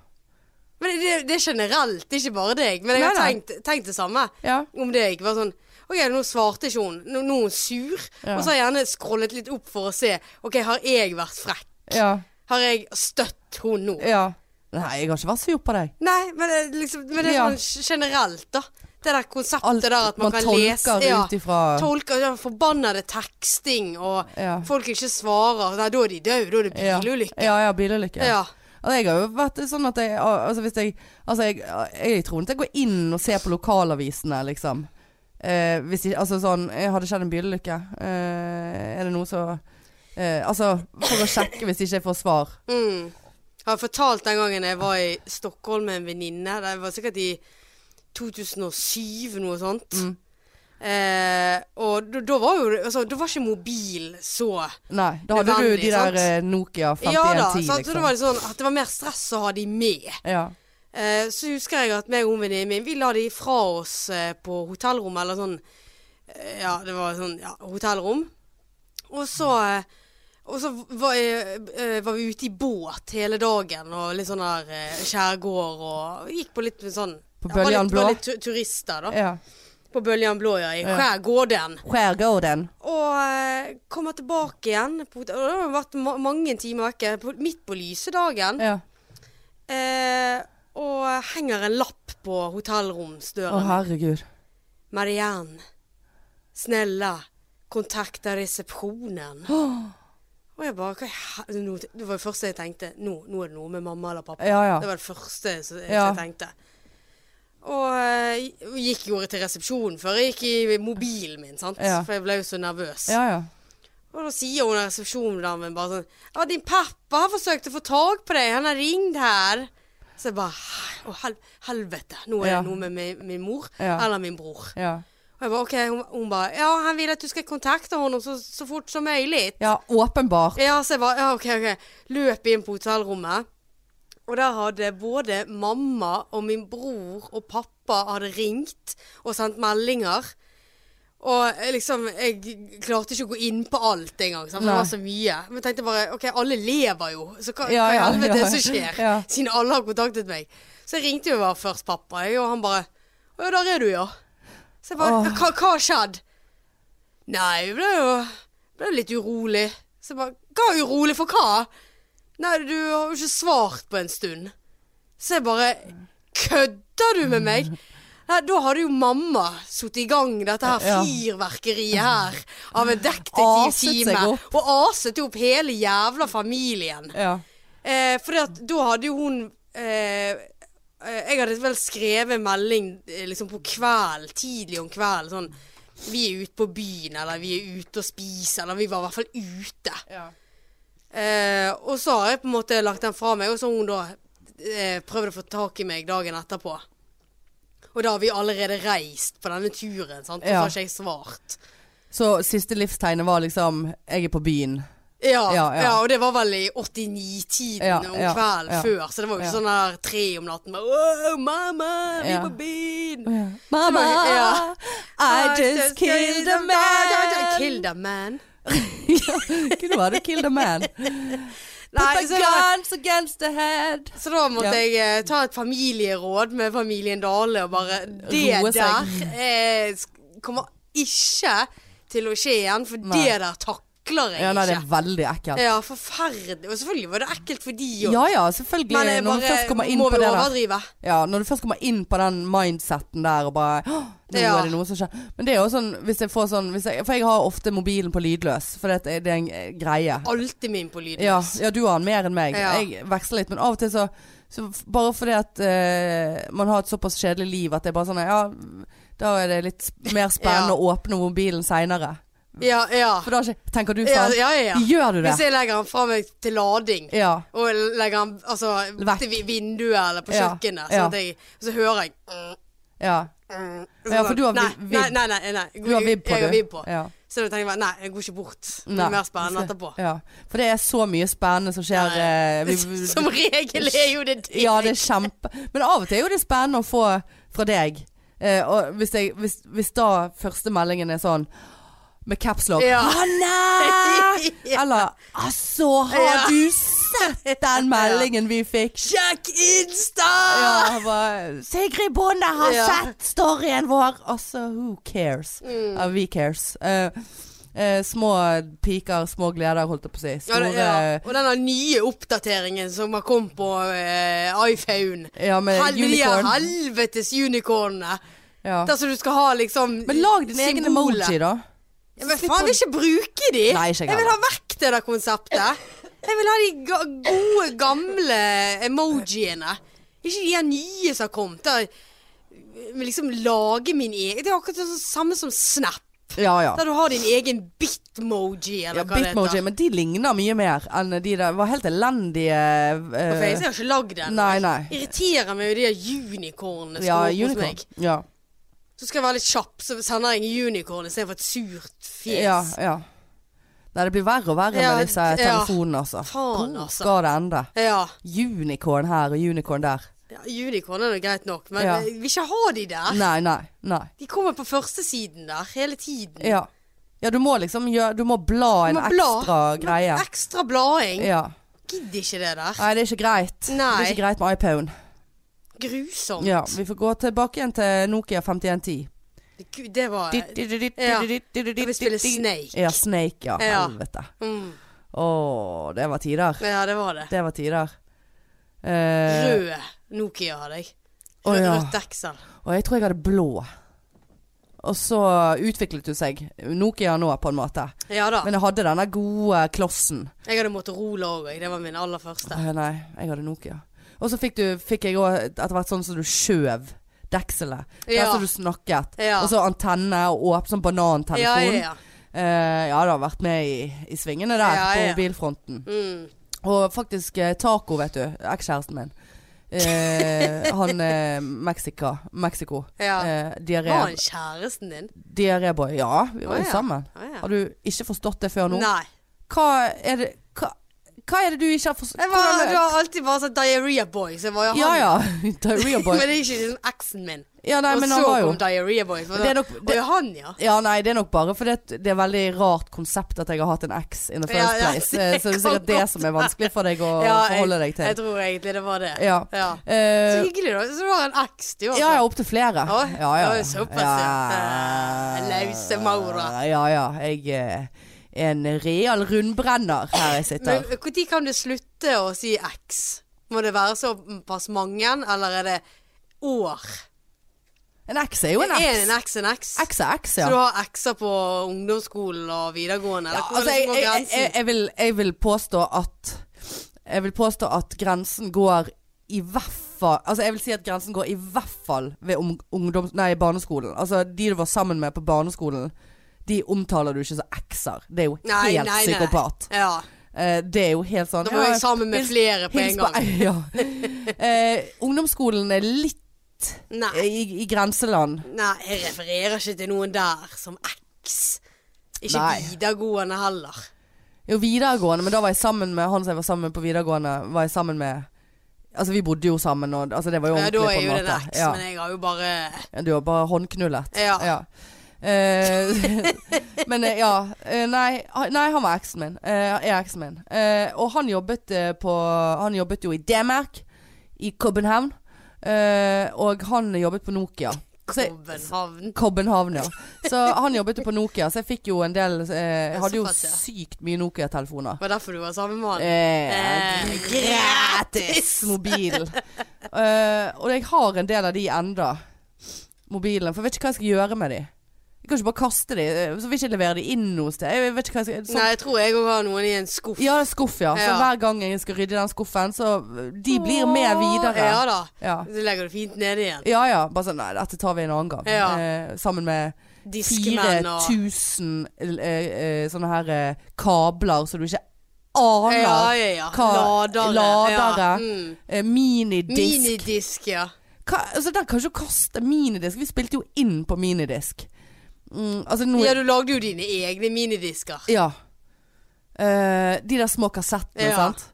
Speaker 1: Men det, det er generelt, det er ikke bare deg. Men jeg har
Speaker 2: Nei, nei.
Speaker 1: tenkt, tenkt det samme
Speaker 2: ja.
Speaker 1: om deg. Bare sånn OK, nå svarte ikke hun. Nå, nå er hun sur.
Speaker 2: Ja.
Speaker 1: Og så har jeg gjerne scrollet litt opp for å se. OK, har jeg vært frekk?
Speaker 2: Ja.
Speaker 1: Har jeg støtt hun nå?
Speaker 2: ja. Nei, jeg har ikke vært sur på deg.
Speaker 1: Nei, men det, er liksom, men det er
Speaker 2: Ja.
Speaker 1: sånn generelt, da. Det der konseptet
Speaker 2: Alt
Speaker 1: der at man, kan lese
Speaker 2: tolker
Speaker 1: ja,
Speaker 2: ut ifra
Speaker 1: Tolker ja, Forbannede teksting og
Speaker 2: ja.
Speaker 1: folk ikke svarer. Nei, da er de døde. Da er det
Speaker 2: Ja.
Speaker 1: bilulykke.
Speaker 2: Ja, ja, bilulykke.
Speaker 1: Ja.
Speaker 2: Altså, jeg har jo vært sånn at jeg Altså, hvis jeg Altså, jeg, jeg tror ikke jeg går inn og ser på lokalavisene, liksom. Eh, hvis ikke Altså sånn eh, Har det skjedd en bilulykke? Eh, er det noe så eh, Altså, for å sjekke hvis ikke jeg får svar.
Speaker 1: Mm. Jeg har fortalt den gangen jeg var i Stockholm med en venninne. Det var sikkert i 2007, noe sånt.
Speaker 2: Mm.
Speaker 1: Eh, og da- da var jo det- altså, Da var ikke mobil så
Speaker 2: Nei. Da hadde
Speaker 1: Nødvendig,
Speaker 2: du de
Speaker 1: sant?
Speaker 2: der eh, Nokia
Speaker 1: Ja da.
Speaker 2: 5110,
Speaker 1: sant? Så det
Speaker 2: liksom.
Speaker 1: var sånn at det var mer stress å ha de med.
Speaker 2: Ja.
Speaker 1: Eh, så husker jeg at meg og venninnen min Vi la de fra oss eh, på hotellrommet, eller sånn eh, Ja, det var sånn ja, hotellrom. Og så eh, og så var, jeg, eh, var vi ute i båt hele dagen, og litt sånn der eh, skjærgård og Gikk på litt med sånn
Speaker 2: På
Speaker 1: ja, var litt-
Speaker 2: Bøljan Blå?
Speaker 1: Var litt tu- turister, da.
Speaker 2: ja.
Speaker 1: På Bøljan Blå, ja. I
Speaker 2: Ja.
Speaker 1: skjærgården.
Speaker 2: Skjærgården.
Speaker 1: Og eh, kommer tilbake igjen. På, hotell- og det har vært ma mange timer vekke. På, midt på lyse dagen.
Speaker 2: Ja.
Speaker 1: Eh, og henger en lapp på
Speaker 2: Å,
Speaker 1: hotellromsdøren.
Speaker 2: herregud.
Speaker 1: Marianne, snälla, kontakta resepsjonen. Og jeg bare, hva i hel- nå- Det var det første jeg tenkte. Nå, nå er det noe med mamma eller pappa.
Speaker 2: Ja, ja.
Speaker 1: Det var det første som jeg,
Speaker 2: Ja.
Speaker 1: jeg tenkte. Og eh, gikk gjorde til resepsjonen før jeg gikk i mobilen min, sant?
Speaker 2: Ja.
Speaker 1: for jeg ble jo så nervøs.
Speaker 2: Ja, ja.
Speaker 1: Og da sier hun resepsjonsdamen bare sånn Ja, din pappa har forsøkt å få tak på deg, han har ringt her. Så jeg bare Å, hel helvete. Nå er
Speaker 2: Ja.
Speaker 1: det noe med min, min mor
Speaker 2: Ja.
Speaker 1: eller min bror.
Speaker 2: Ja.
Speaker 1: Og jeg bare OK. Hun, hun bare Ja, han vil at du skal kontakte honom så, så fort som mulig.
Speaker 2: ja åpenbart.
Speaker 1: Ja, så jeg bare Ja, OK, OK. Løp inn på hotellrommet. Og der hadde både mamma og min bror og pappa hadde ringt og sendt meldinger. Og jeg liksom Jeg klarte ikke å gå inn på alt engang, sant, for det
Speaker 2: Nei.
Speaker 1: var så mye. Men jeg tenkte bare OK, alle lever jo, så hva,
Speaker 2: Ja,
Speaker 1: hva i
Speaker 2: ja,
Speaker 1: helvete er
Speaker 2: ja.
Speaker 1: det som skjer?
Speaker 2: Ja.
Speaker 1: Siden alle har kontaktet meg. Så jeg ringte jo bare først pappa, jeg, og han bare Å ja, der er du, ja. Så jeg bare
Speaker 2: Åh.
Speaker 1: Hva hva har skjedd? Nei, jeg ble jo ble litt urolig. Så jeg bare Hva urolig for hva? Nei, du har jo ikke svart på en stund. Så jeg bare Kødder du med meg? Nei, da hadde jo mamma satt i gang dette her
Speaker 2: Ja.
Speaker 1: fyrverkeriet her av en
Speaker 2: Aset seg
Speaker 1: detektivtime.
Speaker 2: opp.
Speaker 1: Og aset opp hele jævla familien.
Speaker 2: Ja.
Speaker 1: Eh, for at da hadde jo hun eh, eh, Jeg hadde vel skrevet melding eh, liksom på kveld, tidlig om kvelden. Sånn Vi er ute på byen, eller vi er ute og spiser, eller vi var i hvert fall ute.
Speaker 2: Ja.
Speaker 1: Eh, og så har jeg på en måte lagt den fra meg, og så har hun da eh, prøvd å få tak i meg dagen etterpå. Og da har vi allerede reist på denne turen, sant? og så
Speaker 2: Ja.
Speaker 1: har ikke jeg svart.
Speaker 2: Så siste livstegnet var liksom 'jeg er på byen'.
Speaker 1: Ja, ja,
Speaker 2: Ja, ja.
Speaker 1: og det var vel i 89-tiden
Speaker 2: Ja,
Speaker 1: om
Speaker 2: ja,
Speaker 1: kvelden
Speaker 2: ja.
Speaker 1: før, så det var jo ikke
Speaker 2: Ja.
Speaker 1: sånn der tre om natten bare, Åh, mamma, vi er
Speaker 2: Ja.
Speaker 1: på byen!
Speaker 2: Mamma,
Speaker 1: Ja.
Speaker 2: I just killed a man.
Speaker 1: Killed a man.
Speaker 2: Kunne være det killed a man. Put
Speaker 1: Nei,
Speaker 2: the
Speaker 1: så da,
Speaker 2: guns against the head.
Speaker 1: så da måtte
Speaker 2: Ja.
Speaker 1: jeg eh, ta et familieråd med familien Dale og bare Det
Speaker 2: Roe seg.
Speaker 1: der eh, sk- kommer ikke til å skje igjen, for
Speaker 2: Nei.
Speaker 1: det der takler jeg
Speaker 2: Ja, nei, det er
Speaker 1: ikke.
Speaker 2: veldig ekkelt.
Speaker 1: Ja, forferdelig. Og selvfølgelig var det ekkelt for de òg.
Speaker 2: Ja ja, selvfølgelig.
Speaker 1: Men jeg
Speaker 2: når du først
Speaker 1: bare
Speaker 2: kommer inn
Speaker 1: må
Speaker 2: på
Speaker 1: vi
Speaker 2: det der
Speaker 1: overdrive.
Speaker 2: Ja, når du først kommer inn på den mindsetten der og bare «Åh, Nå
Speaker 1: Ja.
Speaker 2: er det noe som skjer. Men det er jo sånn hvis jeg får sånn hvis jeg, For jeg har ofte mobilen på lydløs, for det, er- det er en eh, greie.
Speaker 1: Alltid min på lydløs.
Speaker 2: Ja, ja, du har den mer enn meg.
Speaker 1: Ja.
Speaker 2: Jeg veksler litt, men av og til så, så f- Bare fordi at eh, man har et såpass kjedelig liv at det er bare sånn Ja, da er det litt sp- mer spennende
Speaker 1: Ja.
Speaker 2: å åpne mobilen seinere.
Speaker 1: ja. ja.
Speaker 2: For da er ikke Tenker du
Speaker 1: Ja,
Speaker 2: sånn?
Speaker 1: ja, ja, ja.
Speaker 2: Gjør du det?
Speaker 1: Hvis jeg legger den fra meg til lading,
Speaker 2: Ja.
Speaker 1: og legger den altså,
Speaker 2: Vekk.
Speaker 1: til vi- vinduet eller på
Speaker 2: Ja,
Speaker 1: kjøkkenet,
Speaker 2: ja.
Speaker 1: sånn at jeg, så hører jeg mm,
Speaker 2: ja.
Speaker 1: mm,
Speaker 2: Ja, for du har
Speaker 1: nei,
Speaker 2: vi-
Speaker 1: nei,
Speaker 2: vibb.
Speaker 1: nei, nei, nei.
Speaker 2: Du har vibb på,
Speaker 1: Jeg
Speaker 2: du.
Speaker 1: har vibb på.
Speaker 2: Ja.
Speaker 1: Så da tenker jeg bare nei, jeg går ikke bort. Det
Speaker 2: Nei.
Speaker 1: blir mer spennende etterpå.
Speaker 2: Ja. For det er så mye spennende som skjer. eh, vi-
Speaker 1: Som regel er jo det det.
Speaker 2: Ja, det er kjempe Men av og til er jo det spennende å få fra deg. Eh, og hvis, jeg, hvis, hvis da første meldingen er sånn med capslock
Speaker 1: Ja.
Speaker 2: Hanne!
Speaker 1: Ja.
Speaker 2: Eller Altså, har
Speaker 1: Ja.
Speaker 2: du sett den meldingen vi fikk?
Speaker 1: Sjekk Insta!
Speaker 2: Ja, bare, Sigrid Bonde har
Speaker 1: Ja.
Speaker 2: sett storyen vår! Altså, who cares?
Speaker 1: Mm.
Speaker 2: Ja, we cares. Eh, eh, små piker, små gleder, holdt jeg på å si.
Speaker 1: Ja,
Speaker 2: Store
Speaker 1: det- ja. Og denne nye oppdateringen som har kommet på eh, iPhone.
Speaker 2: ja, med
Speaker 1: Helvete,
Speaker 2: unicorn.
Speaker 1: helvetes unicornene!
Speaker 2: Ja.
Speaker 1: Der som du skal ha liksom
Speaker 2: Men lag din egen
Speaker 1: symbolet.
Speaker 2: emoji, da.
Speaker 1: Ja, men
Speaker 2: Slipp
Speaker 1: faen, jeg vil ikke bruke de!
Speaker 2: Nei, ikke jeg
Speaker 1: jeg vil ha vekk det der konseptet. Jeg vil ha de ga gode, gamle emojiene. Ikke de her nye som har kommet. Der jeg vil liksom lage min egen Det er akkurat det samme som Snap.
Speaker 2: Ja, ja.
Speaker 1: Der du har din egen bitmoji, eller
Speaker 2: ja
Speaker 1: hva
Speaker 2: Bitmoji,
Speaker 1: det heter.
Speaker 2: men de ligner mye mer enn de der var helt elendige
Speaker 1: På
Speaker 2: eh,
Speaker 1: Facebook har jeg ikke lagd den.
Speaker 2: Nei, nei.
Speaker 1: Irriterer meg jo de der unicornene som
Speaker 2: Ja,
Speaker 1: går opp hos
Speaker 2: unicorn.
Speaker 1: meg.
Speaker 2: Ja.
Speaker 1: Så skal jeg være litt kjapp, så sender jeg en unicorn istedenfor et surt fjes.
Speaker 2: ja, ja. Nei, det blir verre og verre
Speaker 1: Ja,
Speaker 2: med disse
Speaker 1: ja.
Speaker 2: telefonene, altså.
Speaker 1: Faen,
Speaker 2: Hvor
Speaker 1: altså.
Speaker 2: skal det ende?
Speaker 1: ja.
Speaker 2: Unicorn her og unicorn der.
Speaker 1: Ja, unicorn er nå greit nok, men
Speaker 2: Ja.
Speaker 1: eh, vi vil ikke ha de der.
Speaker 2: Nei, nei, nei.
Speaker 1: De kommer på førstesiden der hele tiden.
Speaker 2: Ja. ja, du må liksom gjøre Du må bla en
Speaker 1: Du må bla.
Speaker 2: ekstra greie.
Speaker 1: Ekstra blading.
Speaker 2: Ja.
Speaker 1: Gidder ikke det der.
Speaker 2: Nei, det er ikke greit. Det
Speaker 1: Nei.
Speaker 2: er ikke greit med iPhone.
Speaker 1: Grusomt.
Speaker 2: Ja, vi får gå tilbake igjen til Nokia 5110.
Speaker 1: Gud, Det var Ja.
Speaker 2: Ja.
Speaker 1: Kan vi spille Snake?
Speaker 2: Ja, Snake, ja.
Speaker 1: Ja.
Speaker 2: Helvete.
Speaker 1: Mm.
Speaker 2: Å, det var tider.
Speaker 1: Ja, det var det.
Speaker 2: Det var tider. Eh,
Speaker 1: Rød Nokia hadde jeg. Rød,
Speaker 2: Å, ja.
Speaker 1: Rødt Excel.
Speaker 2: og jeg tror jeg hadde blå. Og så utviklet hun seg. Nokia nå, på en måte.
Speaker 1: Ja da.
Speaker 2: Men jeg hadde denne gode klossen.
Speaker 1: Jeg hadde Motorola òg, jeg. Det var min aller første.
Speaker 2: Eh, nei, jeg hadde Nokia. Og så fikk, du, fikk jeg òg etter hvert sånn som du skjøv dekselet. Der
Speaker 1: Ja.
Speaker 2: som du snakket.
Speaker 1: Ja.
Speaker 2: Og så antenne og åp, sånn banantelefon.
Speaker 1: Ja, ja, ja.
Speaker 2: Eh, ja, det har vært med i, i svingene der
Speaker 1: Ja,
Speaker 2: på
Speaker 1: ja.
Speaker 2: mobilfronten.
Speaker 1: Mm.
Speaker 2: Og faktisk eh, taco, vet du. Ekskjæresten min. Eh, han eh, Mexica. Mexico.
Speaker 1: ja.
Speaker 2: Eh,
Speaker 1: Var
Speaker 2: diaré-
Speaker 1: han kjæresten din?
Speaker 2: Diaréboy. Ja, vi var
Speaker 1: Å,
Speaker 2: jo
Speaker 1: ja.
Speaker 2: sammen.
Speaker 1: Å, Ah, ja.
Speaker 2: Har du ikke forstått det før nå?
Speaker 1: Nei.
Speaker 2: Hva er det hva, hva er det du ikke har forstått?
Speaker 1: Jeg var, du har alltid vært sånn diaré boy, så jeg var jo han.
Speaker 2: Ja ja. Diarrhea
Speaker 1: Men
Speaker 2: boy.
Speaker 1: det er ikke liksom eksen min.
Speaker 2: Ja, nei,
Speaker 1: og
Speaker 2: men
Speaker 1: så
Speaker 2: han var jo
Speaker 1: kom Diarrhea Boys. Og
Speaker 2: Det er
Speaker 1: da-
Speaker 2: nok- det-
Speaker 1: Å, ja, han, ja.
Speaker 2: ja, nei, det er nok bare fordi at det er veldig rart konsept at jeg har hatt en eks in the
Speaker 1: Ja,
Speaker 2: first
Speaker 1: ja,
Speaker 2: place.
Speaker 1: det
Speaker 2: Eh, Så det er
Speaker 1: kan
Speaker 2: sikkert det
Speaker 1: godt
Speaker 2: som er vanskelig for deg å
Speaker 1: Ja, jeg-
Speaker 2: forholde deg
Speaker 1: Jeg
Speaker 2: til.
Speaker 1: tror egentlig det var det.
Speaker 2: Ja.
Speaker 1: Ja. Så
Speaker 2: Eh,
Speaker 1: hyggelig, da. Så du har en eks, du, altså.
Speaker 2: Ja, ja, opptil flere.
Speaker 1: Å,
Speaker 2: ja, ja.
Speaker 1: det er såpass, ja. Eh, lause maurer.
Speaker 2: Ja, ja. Jeg eh, er en real rundbrenner her jeg
Speaker 1: Men
Speaker 2: sitter.
Speaker 1: når kan du slutte å si eks? Må det være såpass mange, eller er det år?
Speaker 2: En X er jo en
Speaker 1: Er en
Speaker 2: X.
Speaker 1: eks en eks?
Speaker 2: X er X,
Speaker 1: Så
Speaker 2: ja.
Speaker 1: du har ekser på ungdomsskolen og videregående?
Speaker 2: ja
Speaker 1: Eller hvor
Speaker 2: altså, jeg,
Speaker 1: går
Speaker 2: jeg,
Speaker 1: grensen?
Speaker 2: jeg, jeg, vil, jeg vil påstå at Jeg vil påstå at grensen går i hvert fall Altså, jeg vil si at grensen går i hvert fall ved ung- ungdoms... Nei, barneskolen. Altså, de du var sammen med på barneskolen, de omtaler du ikke som X-er. Det er jo
Speaker 1: Nei,
Speaker 2: helt
Speaker 1: nei, nei.
Speaker 2: psykopat.
Speaker 1: Ja.
Speaker 2: Eh, det er jo helt sånn
Speaker 1: Da må
Speaker 2: ja,
Speaker 1: jeg sammen med
Speaker 2: hils-
Speaker 1: flere på
Speaker 2: hils
Speaker 1: en gang.
Speaker 2: ei- ja. Eh, ungdomsskolen er litt eh,
Speaker 1: Nei.
Speaker 2: i, i grenseland.
Speaker 1: Nei, jeg refererer ikke til noen der som X. Ikke
Speaker 2: Nei.
Speaker 1: videregående heller.
Speaker 2: Jo, videregående, men da var jeg sammen med han som jeg var sammen med på videregående. Var jeg sammen med Altså, vi bodde jo sammen, og altså, det var jo
Speaker 1: Ja,
Speaker 2: ordentlig
Speaker 1: da
Speaker 2: på
Speaker 1: er
Speaker 2: en
Speaker 1: jo det
Speaker 2: måte.
Speaker 1: der X,
Speaker 2: Ja.
Speaker 1: men jeg har jo bare
Speaker 2: Ja, Du har bare håndknullet.
Speaker 1: Ja.
Speaker 2: Eh, men eh, ja. eh, Nei, ha- nei han var eksen min. Eh, er eksen min. Eh, og han jobbet eh, på Han jobbet jo i Demerk i København. Eh, og han jobbet på Nokia. Så jeg-
Speaker 1: altså, København.
Speaker 2: København, ja. Så han jobbet jo på Nokia, så jeg fikk jo en del eh, Jeg hadde jo
Speaker 1: Såpass, ja.
Speaker 2: sykt mye Nokia-telefoner.
Speaker 1: Det var derfor du var sammen med han.
Speaker 2: Eh,
Speaker 1: Eh,
Speaker 2: gratis mobil. Eh, og jeg har en del av de enda mobilene, for jeg vet ikke hva jeg skal gjøre med de. Jeg kan ikke bare kaste de, eh, så vil ikke jeg levere de inn noe sted. Jeg vet ikke hva jeg skal...
Speaker 1: Nei, jeg tror jeg òg har noen i en skuff.
Speaker 2: Ja, det er skuff, ja. Så
Speaker 1: Ja.
Speaker 2: hver gang jeg skal rydde den skuffen, så eh, de blir med videre.
Speaker 1: Ja da.
Speaker 2: Ja.
Speaker 1: Så legger du fint nede igjen.
Speaker 2: Ja, ja. Bare sånn, nei, dette tar vi en annen gang.
Speaker 1: Ja.
Speaker 2: Eh, sammen med
Speaker 1: Diskemenn og
Speaker 2: 4000 eh, eh, sånne her eh, kabler som du ikke aner.
Speaker 1: Ja, ja, ja.
Speaker 2: Hva-
Speaker 1: Ladere. Ja.
Speaker 2: ladere.
Speaker 1: Mm.
Speaker 2: Eh, minidisk.
Speaker 1: Minidisk, ja.
Speaker 2: Hva, altså, den kan jo ikke kaste minidisk. Vi spilte jo inn på minidisk. Mm, altså nå
Speaker 1: Ja,
Speaker 2: Ja.
Speaker 1: du lagde jo dine egne minidisker.
Speaker 2: Eh, de der små kassettene,
Speaker 1: Ja.
Speaker 2: sant.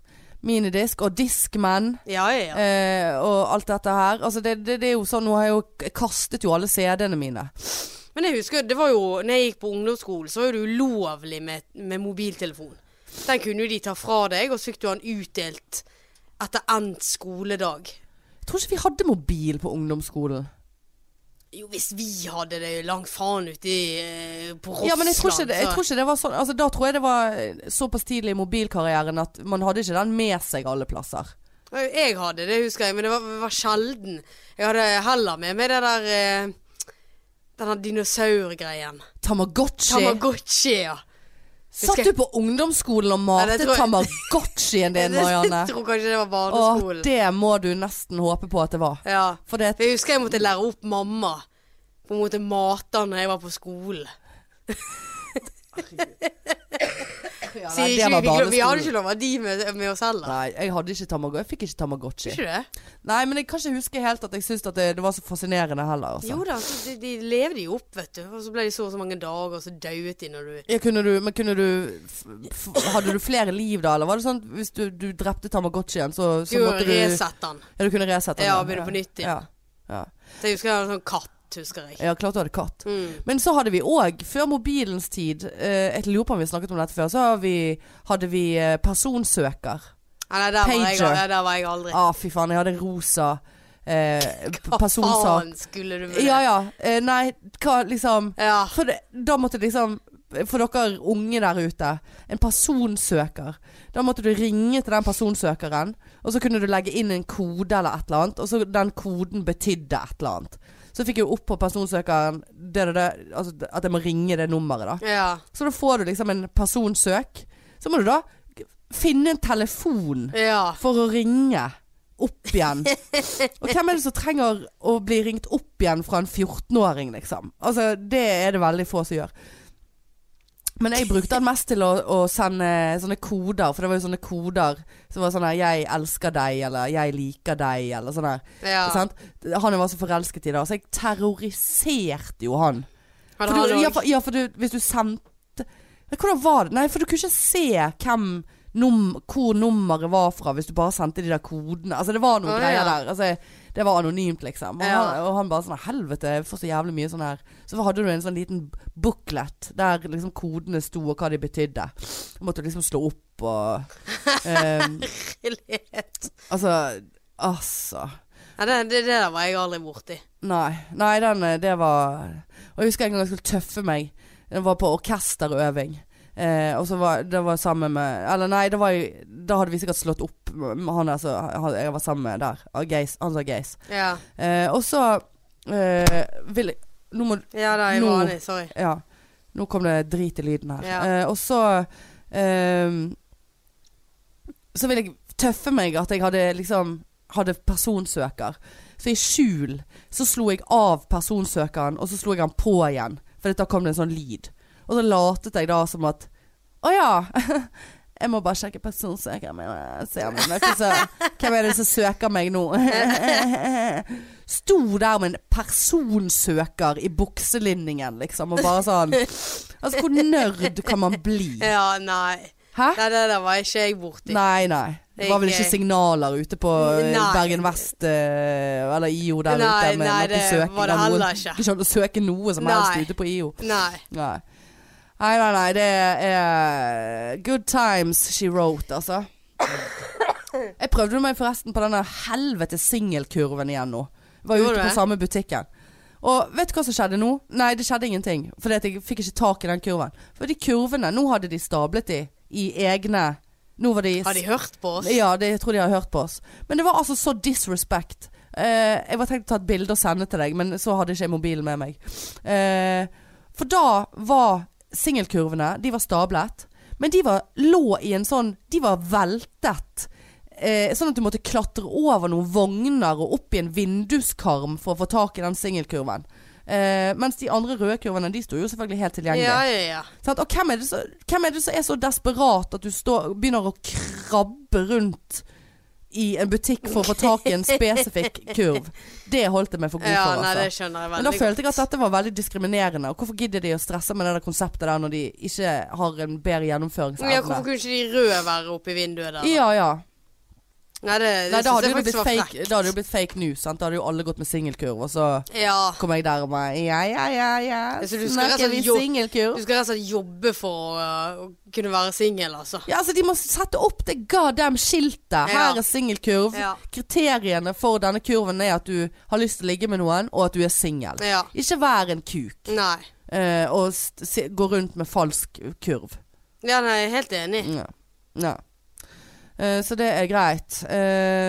Speaker 2: Minidisk og Discman
Speaker 1: Ja, ja, ja.
Speaker 2: eh, og alt dette her. Altså det, det, det er jo sånn, nå har jeg jo jeg kastet jo alle CD-ene mine.
Speaker 1: Men jeg husker, det var jo Når jeg gikk på ungdomsskolen, så var det ulovlig med, med mobiltelefon. Den kunne jo de ta fra deg, og så fikk du den utdelt etter endt skoledag.
Speaker 2: Jeg tror ikke vi hadde mobil på ungdomsskolen.
Speaker 1: Jo, hvis vi hadde det langt faen ute i, eh, på Rossland,
Speaker 2: Ja, men jeg tror, ikke det, jeg
Speaker 1: så-
Speaker 2: tror ikke det var sånn altså, Da tror jeg det var eh, såpass tidlig i mobilkarrieren at man hadde ikke den med seg alle plasser.
Speaker 1: Jeg hadde det, husker jeg, men det var, var sjelden. Jeg hadde heller med meg det der eh, Denne dinosaurgreien.
Speaker 2: Tamagotchi.
Speaker 1: Tamagotchi, ja.
Speaker 2: Satt du på ungdomsskolen og
Speaker 1: Ja, det
Speaker 2: matet
Speaker 1: tror jeg-
Speaker 2: Tamagotchien din, Marianne?
Speaker 1: Jeg tror kanskje det var
Speaker 2: Åh,
Speaker 1: barneskolen.
Speaker 2: det må du nesten håpe på at det var.
Speaker 1: Ja.
Speaker 2: For det
Speaker 1: Jeg husker jeg måtte lære opp mamma. På en måte mate han når jeg var på skolen.
Speaker 2: ja,
Speaker 1: Så
Speaker 2: nei,
Speaker 1: ikke,
Speaker 2: det var
Speaker 1: vi, fikk lov- vi hadde
Speaker 2: barneskolen.
Speaker 1: ikke lov å ha de med, med oss heller.
Speaker 2: Nei, jeg hadde ikke Tamagotchi. Jeg fikk ikke Tamagotchi.
Speaker 1: Ikke det?
Speaker 2: Nei, men jeg kan ikke huske helt at jeg syntes at det, det var så fascinerende heller. Altså.
Speaker 1: Jo da, så de, de levde jo opp, vet du. Og så ble de så og så mange dager, og så dauet de når du
Speaker 2: Ja, kunne du, men kunne du f f Hadde du flere liv da, eller var det sånn at hvis du, du drepte Tamagotchien, så, så
Speaker 1: skulle
Speaker 2: måtte du
Speaker 1: resette han.
Speaker 2: Ja, du kunne resette den?
Speaker 1: Ja, begynne på nytt igjen.
Speaker 2: Ja. Ja.
Speaker 1: Så jeg husker jeg hadde en sånn katt, husker jeg.
Speaker 2: ja, klart du hadde katt.
Speaker 1: Mm.
Speaker 2: Men så hadde vi òg, før mobilens tid eh, Jeg lurer på om vi snakket om dette før, så har vi, hadde vi eh, personsøker.
Speaker 1: Ja, nei, der var, jeg,
Speaker 2: Pager.
Speaker 1: ja, der var jeg aldri.
Speaker 2: ah, fy faen, jeg hadde rosa eh, p-
Speaker 1: Hva
Speaker 2: personsak.
Speaker 1: faen skulle du med det?
Speaker 2: Ja ja. Eh, nei, hva liksom
Speaker 1: Ja.
Speaker 2: For det, da måtte liksom For dere unge der ute. En personsøker. Da måtte du ringe til den personsøkeren, og så kunne du legge inn en kode eller et eller annet, og så den koden betydde et eller annet. Så fikk jeg jo opp på personsøkeren det, det, det, altså at jeg må ringe det nummeret, da.
Speaker 1: ja.
Speaker 2: Så da får du liksom en personsøk. Så må du da finne en telefon
Speaker 1: Ja.
Speaker 2: for å ringe opp igjen. Og hvem er det som trenger å bli ringt opp igjen fra en 14-åring, liksom? Altså, det er det veldig få som gjør. Men jeg brukte den mest til å, å sende sånne koder, for det var jo sånne koder som var sånn her 'Jeg elsker deg', eller 'Jeg liker deg', eller sånn her.
Speaker 1: ja.
Speaker 2: Sant? Han jeg var så forelsket i da, så jeg terroriserte jo han.
Speaker 1: Hadde
Speaker 2: For
Speaker 1: han
Speaker 2: du,
Speaker 1: også-
Speaker 2: ja, for, ja, for du, hvis du sendte Nei, Hvordan var det? Nei, for du kunne ikke se hvem num, hvor nummeret var fra hvis du bare sendte de der kodene. Altså, det var noen
Speaker 1: Å,
Speaker 2: greier
Speaker 1: ja.
Speaker 2: der. Altså, det var anonymt, liksom. Og,
Speaker 1: Ja.
Speaker 2: han, og han bare sånn Helvete, jeg får så jævlig mye sånn her. Så hadde du en sånn liten booklet der liksom kodene sto, og hva de betydde. Du måtte liksom slå opp og ehm, Altså Altså.
Speaker 1: Ja, det, det, det der var jeg aldri borti.
Speaker 2: Nei, nei den, eh, det var Og jeg husker en gang jeg skulle tøffe meg Det var på orkesterøving eh, Og så var det var sammen med Eller nei, det var jo Da hadde vi sikkert slått opp med Han der som han- jeg var sammen med der ah, Geis, Han sa Geis
Speaker 1: Ja.
Speaker 2: eh, Og så eh, vil jeg Nå må
Speaker 1: ja da, jeg
Speaker 2: Nå.
Speaker 1: var enig. Sorry.
Speaker 2: Ja, nå kom det drit i lyden her
Speaker 1: Ja.
Speaker 2: eh, Og så eh, Så vil jeg tøffe meg At jeg hadde liksom hadde personsøker. Så i skjul så slo jeg av personsøkeren, og så slo jeg han på igjen. For da kom det en sånn lyd. Og så latet jeg da som at Å ja. Jeg må bare sjekke personsøker min. eh, Se om det er noe som- Hvem er det som søker meg nå? Sto der med en personsøker i bukselinningen, liksom, og bare sånn Altså, hvor nerd kan man bli?
Speaker 1: Ja, nei.
Speaker 2: Hæ?
Speaker 1: Nei, det der var ikke jeg borti.
Speaker 2: Nei, nei. Det var vel ikke signaler ute på eh,
Speaker 1: Nei.
Speaker 2: Bergen Vest eh, eller IO der
Speaker 1: Nei,
Speaker 2: ute med
Speaker 1: nei,
Speaker 2: noen
Speaker 1: det
Speaker 2: søking.
Speaker 1: var det
Speaker 2: av noen-
Speaker 1: heller ikke.
Speaker 2: Ikke an å søke noe som
Speaker 1: Nei.
Speaker 2: helst ute på IO.
Speaker 1: Nei.
Speaker 2: Nei. nei, nei, nei. Det er good times she wrote, altså. Jeg prøvde meg forresten på denne helvete singelkurven igjen nå. Var
Speaker 1: Gjorde
Speaker 2: ute
Speaker 1: du
Speaker 2: på
Speaker 1: det?
Speaker 2: samme butikken. Og vet du hva som skjedde nå? Nei, det skjedde ingenting. Fordi at jeg fikk ikke tak i den kurven. For de kurvene, nå hadde de stablet de i egne Nå var de
Speaker 1: Har de hørt på oss?
Speaker 2: ja, det, jeg tror de har hørt på oss. Men det var altså så disrespect. Eh, jeg var tenkt å ta et bilde og sende til deg, men så hadde ikke jeg mobilen med meg. Eh, for da var singelkurvene De var stablet, men de var, lå i en sånn De var veltet. Eh, sånn at du måtte klatre over noen vogner og opp i en vinduskarm for å få tak i den singelkurven. Eh, mens de andre røde kurvene De sto jo selvfølgelig helt tilgjengelig.
Speaker 1: ja, ja. ja.
Speaker 2: Sant? Og hvem er, det så, hvem er det som er så desperat at du står, begynner å krabbe rundt i en butikk for å få tak i en spesifikk kurv? Det holdt jeg meg for god
Speaker 1: ja
Speaker 2: for.
Speaker 1: nei, det
Speaker 2: Altså.
Speaker 1: skjønner jeg
Speaker 2: Men da
Speaker 1: veldig godt.
Speaker 2: følte jeg at dette var veldig diskriminerende. Og hvorfor gidder de å stresse med det der konseptet der når de ikke har en
Speaker 1: Ja,
Speaker 2: bedre
Speaker 1: hvorfor
Speaker 2: gjennomføringsevne?
Speaker 1: kunne ikke de røde være oppe i vinduet der?
Speaker 2: Ja, ja.
Speaker 1: Nei, det, det
Speaker 2: Nei, da
Speaker 1: synes
Speaker 2: hadde
Speaker 1: jeg
Speaker 2: jo det
Speaker 1: faktisk
Speaker 2: blitt
Speaker 1: var frekt.
Speaker 2: fake, da hadde det jo blitt fake news. Sant? Da hadde jo alle gått med singelkurv, og så
Speaker 1: Ja.
Speaker 2: kommer jeg der og bare Ja, ja, ja, ja.
Speaker 1: Så du skal rett
Speaker 2: Snakker
Speaker 1: og
Speaker 2: vi
Speaker 1: slett jo-
Speaker 2: singelkurv?
Speaker 1: Du skal rett og slett jobbe for å, øh, å kunne være singel, altså.
Speaker 2: Ja, altså De må sette opp det goddam skiltet.
Speaker 1: Ja.
Speaker 2: Her er singelkurv.
Speaker 1: Ja.
Speaker 2: Kriteriene for denne kurven er at du har lyst til å ligge med noen, og at du er singel.
Speaker 1: Ja.
Speaker 2: Ikke vær en kuk
Speaker 1: Nei.
Speaker 2: eh, og st se, gå rundt med falsk kurv.
Speaker 1: Ja, nei, jeg er helt enig.
Speaker 2: Ja. Ja. Eh, så det er greit.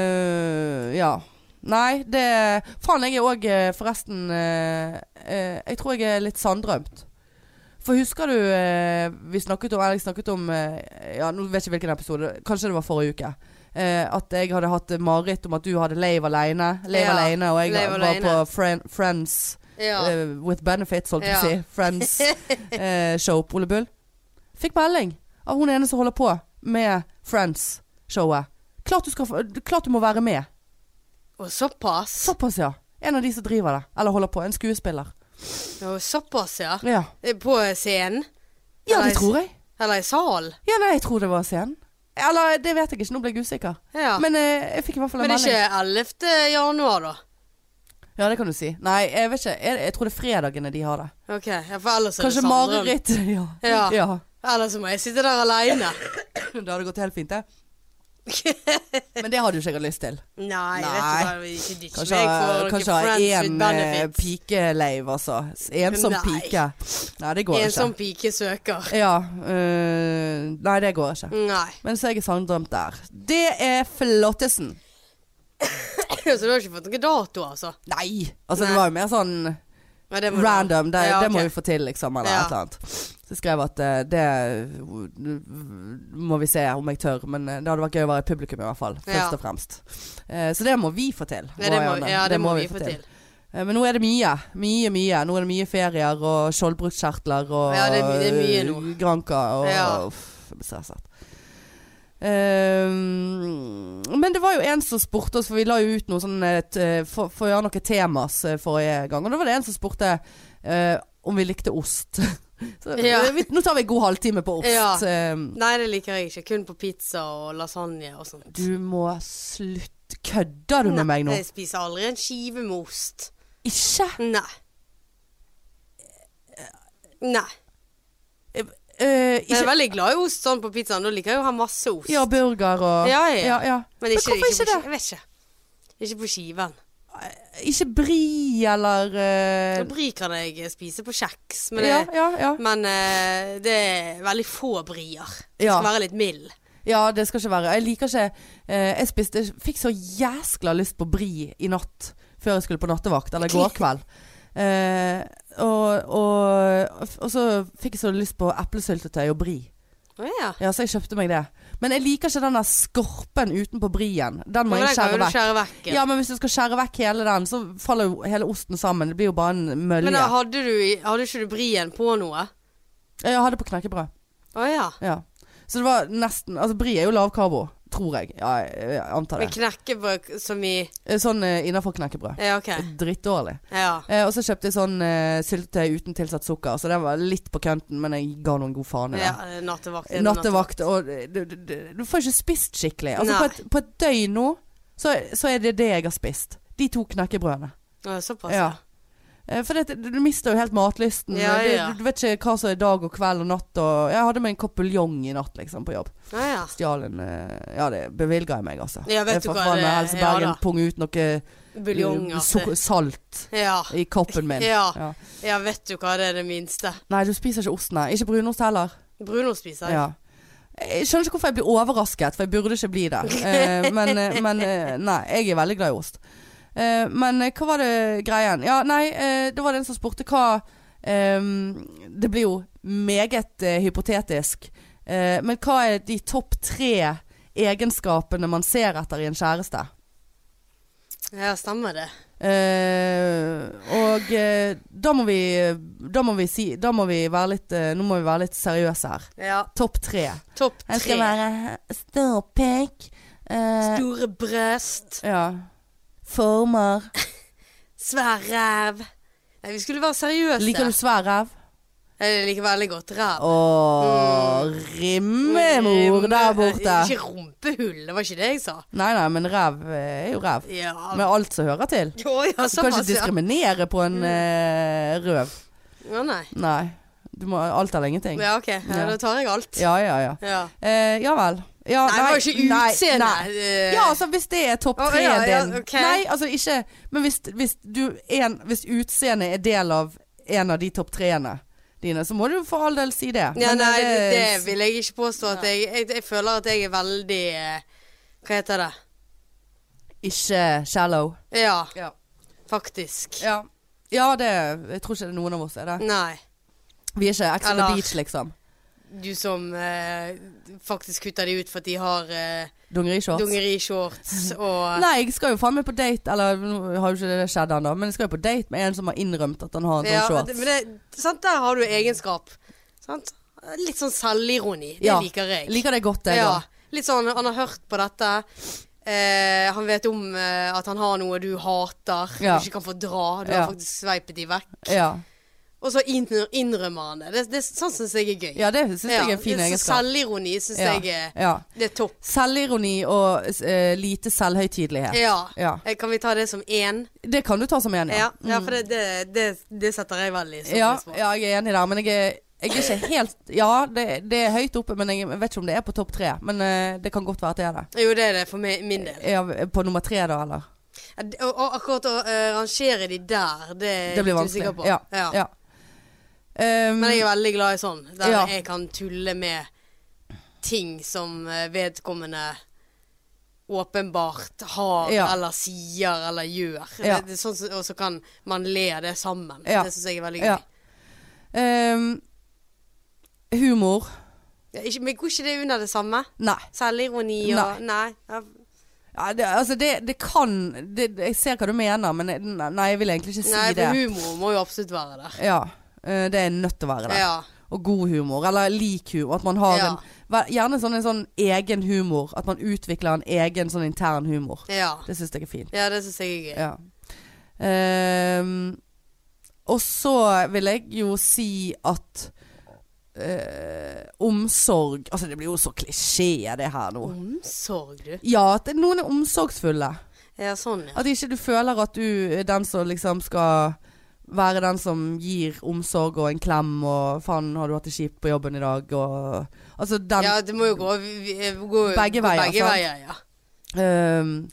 Speaker 2: Eh, ja. Nei, det Faen, jeg er òg eh, forresten eh, eh, Jeg tror jeg er litt sanddrømt. For husker du eh, Vi snakket om, eller jeg snakket om eh, Ja, nå vet jeg ikke hvilken episode. Kanskje det var forrige uke. Eh, at jeg hadde hatt eh, mareritt om at du hadde leiv alene Leiv
Speaker 1: Ja,
Speaker 2: alene, og jeg
Speaker 1: leiv
Speaker 2: var
Speaker 1: alene.
Speaker 2: på Fren- Friends
Speaker 1: Ja.
Speaker 2: eh, with benefits, holdt jeg
Speaker 1: Ja.
Speaker 2: på å si. Friends-show på Ole Bull. Fikk melding av hun ene som holder på med Friends-showet. Klart, du skal få- klart du må være med.
Speaker 1: Og såpass.
Speaker 2: Såpass, ja. En av de som driver det. Eller holder på. En skuespiller.
Speaker 1: Og såpass, ja.
Speaker 2: Ja,
Speaker 1: Eh, På scenen?
Speaker 2: ja
Speaker 1: Eller i-
Speaker 2: det tror jeg.
Speaker 1: Eller i salen?
Speaker 2: Ja, nei, jeg tror det var scenen. Eller det vet jeg ikke, nå ble jeg usikker.
Speaker 1: Ja. Men,
Speaker 2: Men eh, jeg fikk i hvert fall en melding.
Speaker 1: ikke 11. januar, da?
Speaker 2: Ja, det kan du si. Nei, jeg vet ikke. Jeg, jeg tror det er fredagene de har det.
Speaker 1: Ok, ja, for ellers er
Speaker 2: Kanskje
Speaker 1: det Sandra.
Speaker 2: mareritt. Ja.
Speaker 1: Ja.
Speaker 2: ja.
Speaker 1: Ellers må jeg sitte der aleine.
Speaker 2: Det hadde gått helt fint, det. Men det har du ikke sikkert lyst til.
Speaker 1: Nei, vet
Speaker 2: Nei.
Speaker 1: du hva, vi ikke ditch
Speaker 2: Kanskje,
Speaker 1: meg for noen
Speaker 2: kanskje ha
Speaker 1: friends with
Speaker 2: én eh,
Speaker 1: benefits.
Speaker 2: pikeleiv, altså. S- Ensom
Speaker 1: Nei.
Speaker 2: pike. Nei, det går
Speaker 1: en som
Speaker 2: ikke.
Speaker 1: pike søker.
Speaker 2: Ja. øh, nei, det går ikke.
Speaker 1: Nei.
Speaker 2: Men så er jeg sanndrømt der. Det er flottesen.
Speaker 1: Så du har ikke fått noen dato, altså?
Speaker 2: Nei! Altså,
Speaker 1: Nei.
Speaker 2: det var jo mer sånn
Speaker 1: Nei, det må du ha.
Speaker 2: random. Det,
Speaker 1: Ja,
Speaker 2: det må
Speaker 1: ok.
Speaker 2: vi få til, liksom. Eller
Speaker 1: Ja.
Speaker 2: et eller annet. Så jeg skrev at eh, det øh, må vi se om jeg tør. Men eh, det hadde vært gøy å være i publikum, i hvert fall. Først
Speaker 1: Ja.
Speaker 2: og fremst. Eh, så det må vi få til.
Speaker 1: Ja, det må,
Speaker 2: Marianne.
Speaker 1: ja, det må vi få til.
Speaker 2: Eh, Men nå er det mye. Mye, mye. Nå er det mye ferier og skjoldbruskkjertler og
Speaker 1: Ja, det er my- det er mye nå.
Speaker 2: Granka og
Speaker 1: Ja.
Speaker 2: uff, jeg blir stresset. Ehm, men det var jo en som spurte oss, for vi la jo ut noe sånn et, eh, For for å gjøre noe temas eh, forrige gang. Og da var det en som spurte eh, om vi likte ost. Så,
Speaker 1: Ja.
Speaker 2: eh, vi, nå tar vi en god halvtime på ost.
Speaker 1: Ja.
Speaker 2: Ehm,
Speaker 1: Nei, det liker jeg ikke. Kun på pizza og lasagne og sånt.
Speaker 2: du må slutte. Kødder du med meg nå?
Speaker 1: Nei, jeg spiser aldri en skive med ost.
Speaker 2: Ikke?
Speaker 1: Nei. Nei.
Speaker 2: Eh,
Speaker 1: Men Jeg
Speaker 2: ikke
Speaker 1: er veldig glad i ost sånn på pizzaen. Da liker jeg jo å ha masse ost.
Speaker 2: ja, burger og
Speaker 1: Ja, ja.
Speaker 2: ja, ja.
Speaker 1: Men, ikke,
Speaker 2: hvorfor
Speaker 1: ikke
Speaker 2: ikke
Speaker 1: på, det? Jeg vet ikke. Ikke på skiven.
Speaker 2: Ikke bri eller eh,
Speaker 1: Så bri kan jeg spise på kjeks, men,
Speaker 2: ja,
Speaker 1: det,
Speaker 2: ja, ja.
Speaker 1: men eh, det er veldig få brier.
Speaker 2: Ja.
Speaker 1: Skal være litt mild.
Speaker 2: ja, det skal ikke være. Jeg liker ikke eh, Jeg spiste fikk så jæskla lyst på bri i natt før jeg skulle på nattevakt, eller i går kveld. Eh, og, og, og så fikk jeg så lyst på eplesyltetøy og bri.
Speaker 1: Å ja.
Speaker 2: Ja, så jeg kjøpte meg det. Men jeg liker ikke den der skorpen utenpå brien. Den må
Speaker 1: Men den kan
Speaker 2: jeg skjære
Speaker 1: jo du
Speaker 2: vekk.
Speaker 1: skjære vekk.
Speaker 2: Ja, men hvis du skal skjære vekk hele den, så faller jo hele osten sammen. Det blir jo bare en mølje.
Speaker 1: Men da hadde du hadde ikke du brien på noe?
Speaker 2: Jeg hadde på knekkebrød.
Speaker 1: Å ja.
Speaker 2: Ja. Så det var nesten Altså, bri er jo lavkarbo, tror jeg. Ja, jeg jeg antar
Speaker 1: Men
Speaker 2: det.
Speaker 1: knekkebrød som i
Speaker 2: Eh, Sånn eh, innafor knekkebrød.
Speaker 1: Ja, OK.
Speaker 2: Drittdårlig.
Speaker 1: Ja.
Speaker 2: Eh, og så kjøpte jeg sånn eh, syltetøy uten tilsatt sukker, så den var litt på kønten, men jeg ga noen god faen i det.
Speaker 1: ja eh, nattevakt. er det
Speaker 2: Nattevakt og du, du, du, du får ikke spist skikkelig. Altså, på
Speaker 1: Nei.
Speaker 2: et, på et døgn nå, så, så er det det jeg har spist. De to knekkebrødene.
Speaker 1: Ja, Såpass,
Speaker 2: Ja. Eh, For det, du mister jo helt matlysten.
Speaker 1: Ja,
Speaker 2: og du,
Speaker 1: ja.
Speaker 2: du vet ikke hva som er dag og kveld og natt. Og jeg hadde med en kopp buljong i natt liksom, på jobb.
Speaker 1: ja. ja.
Speaker 2: Stjal en eh, Ja, det bevilga jeg meg, altså.
Speaker 1: Ja, vet
Speaker 2: jeg
Speaker 1: du hva det-
Speaker 2: Helse
Speaker 1: ja
Speaker 2: Bergen
Speaker 1: da.
Speaker 2: pung ut noe
Speaker 1: Buljong.
Speaker 2: eh,
Speaker 1: at det-
Speaker 2: sukker- salt
Speaker 1: Ja.
Speaker 2: i koppen min.
Speaker 1: Ja.
Speaker 2: Ja.
Speaker 1: ja, vet du hva det er det minste?
Speaker 2: Nei, du spiser ikke ost, nei. Ikke brunost heller.
Speaker 1: Brunost spiser jeg.
Speaker 2: Ja. Jeg skjønner ikke hvorfor jeg blir overrasket, for jeg burde ikke bli det. Eh, men, eh, men eh, nei, jeg er veldig glad i ost. Eh, men eh, hva var det greien? Ja, nei, eh, det var det en som spurte hva eh, Det blir jo meget eh, hypotetisk, eh, men hva er de topp tre egenskapene man ser etter i en kjæreste?
Speaker 1: Ja, stemmer det.
Speaker 2: Eh, og eh, da må vi Da må vi si Da må vi være litt eh, Nå må vi være litt seriøse her.
Speaker 1: Ja.
Speaker 2: Topp tre.
Speaker 1: Topp
Speaker 2: Jeg skal
Speaker 1: tre.
Speaker 2: være stor pek. eh,
Speaker 1: Store bryst.
Speaker 2: ja. Former.
Speaker 1: Svær ræv. Nei, vi skulle være seriøse. Eh,
Speaker 2: Liker du svær ræv?
Speaker 1: Jeg liker veldig godt ræv. eh,
Speaker 2: Å, rimmemor der borte.
Speaker 1: Mm. Ikke rumpehull, det var ikke det jeg sa.
Speaker 2: Nei, nei, men ræv eh, er jo ræv.
Speaker 1: Ja.
Speaker 2: Med alt som hører til.
Speaker 1: Å ja,
Speaker 2: Du kan ikke
Speaker 1: såpass, ja. Mm.
Speaker 2: diskriminere på en eh, røv.
Speaker 1: Å nei.
Speaker 2: Nei. Du må alt eller ingenting.
Speaker 1: Ja, OK. Ja,
Speaker 2: Ja.
Speaker 1: da tar jeg alt.
Speaker 2: Ja, ja, ja.
Speaker 1: Ja.
Speaker 2: Eh, ja vel. Ja,
Speaker 1: Nei, det var jo ikke
Speaker 2: nei,
Speaker 1: utseende.
Speaker 2: nei.
Speaker 1: eh,
Speaker 2: Ja, altså hvis det er topp
Speaker 1: Å,
Speaker 2: tre
Speaker 1: ja, ja,
Speaker 2: din
Speaker 1: ok.
Speaker 2: Nei, altså ikke Men hvis, hvis, du- en- hvis utseendet er del av en av de topp treene dine, så må du for all del si det.
Speaker 1: ja,
Speaker 2: Men,
Speaker 1: nei,
Speaker 2: eh,
Speaker 1: det, det vil jeg ikke påstå. At jeg, jeg, jeg føler at jeg er veldig eh, Hva heter det?
Speaker 2: Ikke shallow.
Speaker 1: Ja,
Speaker 2: Ja.
Speaker 1: faktisk.
Speaker 2: ja. Ja, det Jeg tror ikke det er noen av oss er det.
Speaker 1: Nei.
Speaker 2: Vi er ikke Ex on the
Speaker 1: Eller-
Speaker 2: Beach, liksom.
Speaker 1: Du som eh, faktisk kutter de ut for at de har eh,
Speaker 2: Dungerishorts.
Speaker 1: dungerishorts og
Speaker 2: Nei, jeg skal jo faen meg på date Eller nå har jo ikke det skjedd ennå, men jeg skal jo på date med en som har innrømt at han har en sånn
Speaker 1: Ja,
Speaker 2: shorts.
Speaker 1: det- men det, sant, der har du egenskap. Sant? Litt sånn selvironi. Det
Speaker 2: Ja,
Speaker 1: liker jeg.
Speaker 2: Liker det godt, jeg
Speaker 1: ja.
Speaker 2: òg.
Speaker 1: Litt sånn, han har hørt på dette. Eh, han vet om eh, at han har noe du hater,
Speaker 2: Ja.
Speaker 1: du ikke kan fordra. Du
Speaker 2: Ja.
Speaker 1: har faktisk sveipet de vekk.
Speaker 2: Ja.
Speaker 1: Og så innr- innrømmer han det. det, det sånn syns jeg er gøy.
Speaker 2: ja, det syns jeg er en fin
Speaker 1: det- så
Speaker 2: egenskap.
Speaker 1: Selvironi syns
Speaker 2: Ja.
Speaker 1: jeg er,
Speaker 2: Ja.
Speaker 1: det er topp.
Speaker 2: Selvironi og eh, lite selvhøytidelighet.
Speaker 1: Ja.
Speaker 2: Ja.
Speaker 1: Eh, Kan vi ta det som én?
Speaker 2: Det kan du ta som en,
Speaker 1: Ja.
Speaker 2: ja. Mm.
Speaker 1: Ja, for det, det, det, det setter jeg veldig stor
Speaker 2: Ja,
Speaker 1: pris på.
Speaker 2: ja, jeg er enig der, men jeg er, jeg er ikke helt Ja, det, det er høyt oppe, men jeg vet ikke om det er på topp tre. Men eh, det kan godt være at det er det.
Speaker 1: Jo, det er det for meg, min del.
Speaker 2: Ja, på nummer tre, da, eller?
Speaker 1: Ja, det- Og, og akkurat å eh, rangere de der, det er
Speaker 2: Det blir
Speaker 1: jeg usikker
Speaker 2: vanskelig.
Speaker 1: på.
Speaker 2: Ja.
Speaker 1: Ja.
Speaker 2: ja. Um,
Speaker 1: Men jeg er veldig glad i sånn, der
Speaker 2: Ja.
Speaker 1: jeg kan tulle med ting som eh, vedkommende åpenbart har
Speaker 2: Ja.
Speaker 1: eller sier eller gjør.
Speaker 2: Ja.
Speaker 1: Det, det, er sånn, som- og så kan man le av det sammen.
Speaker 2: Ja.
Speaker 1: Det syns jeg er veldig gøy.
Speaker 2: ja. Um, humor.
Speaker 1: Ja, ikke, men går ikke det under det samme?
Speaker 2: Nei.
Speaker 1: Selvironi og Nei. Ja.
Speaker 2: Ja, det, altså, det, det kan det, Jeg ser hva du mener, men jeg- nei, jeg vil egentlig ikke si
Speaker 1: Nei,
Speaker 2: det.
Speaker 1: for humor må jo absolutt være der.
Speaker 2: Ja. eh, det er nødt til å være det.
Speaker 1: Ja.
Speaker 2: Og god humor, eller lik humor. At man har
Speaker 1: Ja.
Speaker 2: en, vær- gjerne sånn, en sånn egen humor. At man utvikler en egen sånn intern humor.
Speaker 1: Ja,
Speaker 2: Det syns jeg er fint.
Speaker 1: ja det syns jeg er gøy.
Speaker 2: Ja. Ehm, og så vil jeg jo si at eh, omsorg Altså, det blir jo så klisjé, det her nå.
Speaker 1: Omsorg, du.
Speaker 2: Ja, at det- noen er omsorgsfulle.
Speaker 1: Ja, sånn, ja.
Speaker 2: At ikke du føler at du er den som liksom skal være den som gir omsorg og en klem og 'faen, har du hatt det kjipt på jobben i dag?' og Altså den
Speaker 1: Ja, det må jo gå, vi- eh, vi- gå
Speaker 2: Begge
Speaker 1: gå
Speaker 2: veier,
Speaker 1: Begge
Speaker 2: sant?
Speaker 1: veier ja.
Speaker 2: Ehm,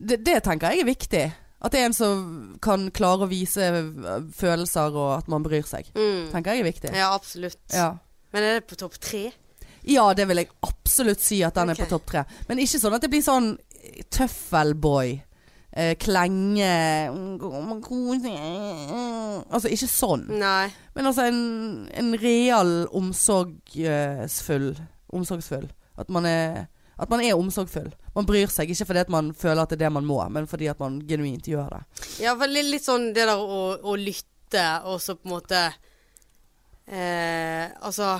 Speaker 2: det, det tenker jeg er viktig. At det er en som kan klare å vise eh, følelser og at man bryr seg.
Speaker 1: Mm.
Speaker 2: Tenker jeg er viktig.
Speaker 1: Ja, absolutt.
Speaker 2: Ja.
Speaker 1: Men er det på topp tre?
Speaker 2: ja, det vil jeg absolutt si at den er
Speaker 1: Ok.
Speaker 2: på topp tre. Men ikke sånn at det blir sånn tøffelboy. eh, klenge mm, Altså ikke sånn.
Speaker 1: Nei.
Speaker 2: Men altså en, en real omsorgsfull Omsorgsfull at man, er, at man er omsorgsfull Man bryr seg ikke fordi at man føler at det er det man må Men fordi at man genuint gjør det
Speaker 1: Ja, for litt, litt sånn det der å, å lytte, og så på en måte eh, Altså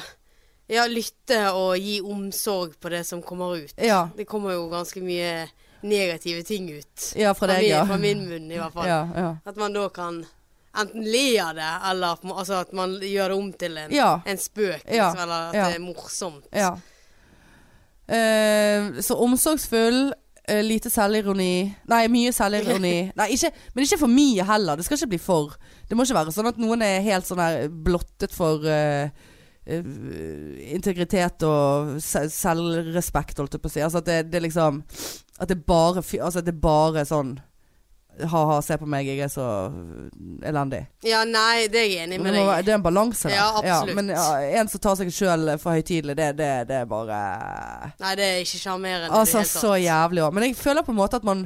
Speaker 1: Ja, lytte og gi omsorg på det som kommer ut.
Speaker 2: Ja.
Speaker 1: Det kommer jo ganske mye negative ting ut.
Speaker 2: Ja, fra deg,
Speaker 1: min,
Speaker 2: ja.
Speaker 1: fra min munn, i hvert fall.
Speaker 2: Ja, ja.
Speaker 1: At man da kan enten le av det, eller på en må- altså at man gjør det om til en,
Speaker 2: Ja.
Speaker 1: en spøk.
Speaker 2: Ja,
Speaker 1: Liksom, eller at
Speaker 2: ja.
Speaker 1: det er morsomt.
Speaker 2: ja. Eh, så omsorgsfull, eh, lite selvironi Nei, mye selvironi. Nei, ikke, men ikke for mye heller. Det skal ikke bli for. Det må ikke være sånn at noen er helt sånn her blottet for eh, eh, integritet og se- selvrespekt, holdt jeg på å si. Altså at det, det er liksom At det bare fy- Altså at det bare sånn Ha-ha, se på meg, jeg er så eh, elendig.
Speaker 1: Ja, nei, det er jeg enig
Speaker 2: Det,
Speaker 1: med
Speaker 2: må,
Speaker 1: deg
Speaker 2: være-
Speaker 1: i.
Speaker 2: det er en balanse der.
Speaker 1: Ja, absolutt.
Speaker 2: men ja, en som tar seg sjøl for høytidelig, det, det, det er bare
Speaker 1: Nei, det er ikke sjarmerende. i det
Speaker 2: Altså,
Speaker 1: hele tatt.
Speaker 2: så jævlig òg. Men jeg føler på en måte at man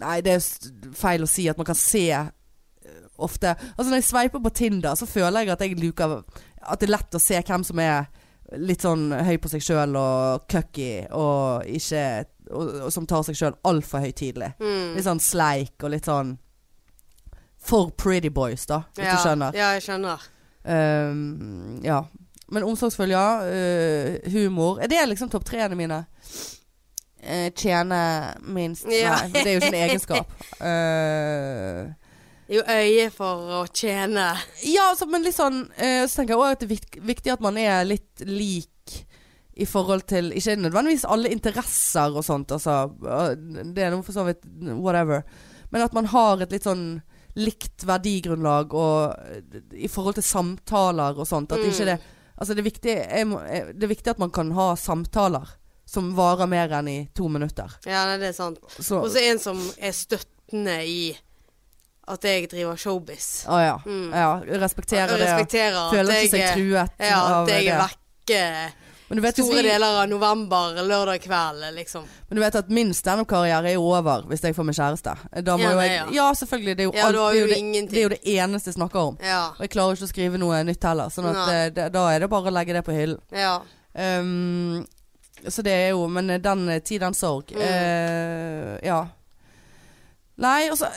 Speaker 2: Nei, det er s- feil å si at man kan se eh, ofte Altså Når jeg sveiper på Tinder, så føler jeg at jeg luker At det er lett å se hvem som er litt sånn høy på seg sjøl og cucky og ikke og, og som tar seg sjøl altfor høytidelig.
Speaker 1: Mm.
Speaker 2: Litt sånn sleik og litt sånn For pretty boys, da, hvis
Speaker 1: ja.
Speaker 2: du skjønner.
Speaker 1: Ja, jeg skjønner.
Speaker 2: Ehm, ja. Men omsorgsfull, ja. Eh, humor. Er det liksom topp treene mine? Eh, tjene minst
Speaker 1: Ja.
Speaker 2: Nei, for det er jo ikke en egenskap. Eh,
Speaker 1: Jo, øye for å tjene.
Speaker 2: ja, altså, men litt sånn eh, Så tenker jeg òg at det er vik- viktig at man er litt lik i forhold til Ikke nødvendigvis alle interesser og sånt, altså. eh, Det er noe for så vidt whatever. Men at man har et litt sånn likt verdigrunnlag og eh, i forhold til samtaler og sånt. At
Speaker 1: Mm.
Speaker 2: ikke det Altså det er, viktig, jeg må, jeg, det er viktig at man kan ha samtaler som varer mer enn i to minutter.
Speaker 1: Ja, nei, det er sant.
Speaker 2: Så,
Speaker 1: Og så en som er støttende i at jeg driver showbiz.
Speaker 2: Å ah, ja.
Speaker 1: Mm.
Speaker 2: ja. Respekterer
Speaker 1: Og
Speaker 2: det.
Speaker 1: respekterer at
Speaker 2: Føler
Speaker 1: jeg
Speaker 2: ikke seg
Speaker 1: er-
Speaker 2: truet
Speaker 1: Ja, at
Speaker 2: av
Speaker 1: jeg er
Speaker 2: det.
Speaker 1: vekke
Speaker 2: Men du vet, hvis
Speaker 1: store
Speaker 2: vi,
Speaker 1: deler av november, lørdag kveld, liksom.
Speaker 2: men du vet at min standup-karriere er jo over hvis jeg får meg kjæreste. Da må
Speaker 1: Ja,
Speaker 2: jo
Speaker 1: nei,
Speaker 2: jeg
Speaker 1: ja.
Speaker 2: Ja, selvfølgelig. Det er jo,
Speaker 1: Ja,
Speaker 2: alt-
Speaker 1: du har
Speaker 2: det,
Speaker 1: jo
Speaker 2: er jo det,
Speaker 1: ingenting.
Speaker 2: det er jo det eneste jeg snakker om.
Speaker 1: Ja.
Speaker 2: Og jeg klarer ikke å skrive noe nytt heller. Sånn at
Speaker 1: Nei.
Speaker 2: eh, det, da er det bare å legge det på hyllen.
Speaker 1: ja.
Speaker 2: Ehm, så det er jo Men den eh, tid, den sorg.
Speaker 1: Mm.
Speaker 2: Eh, ja. Nei, altså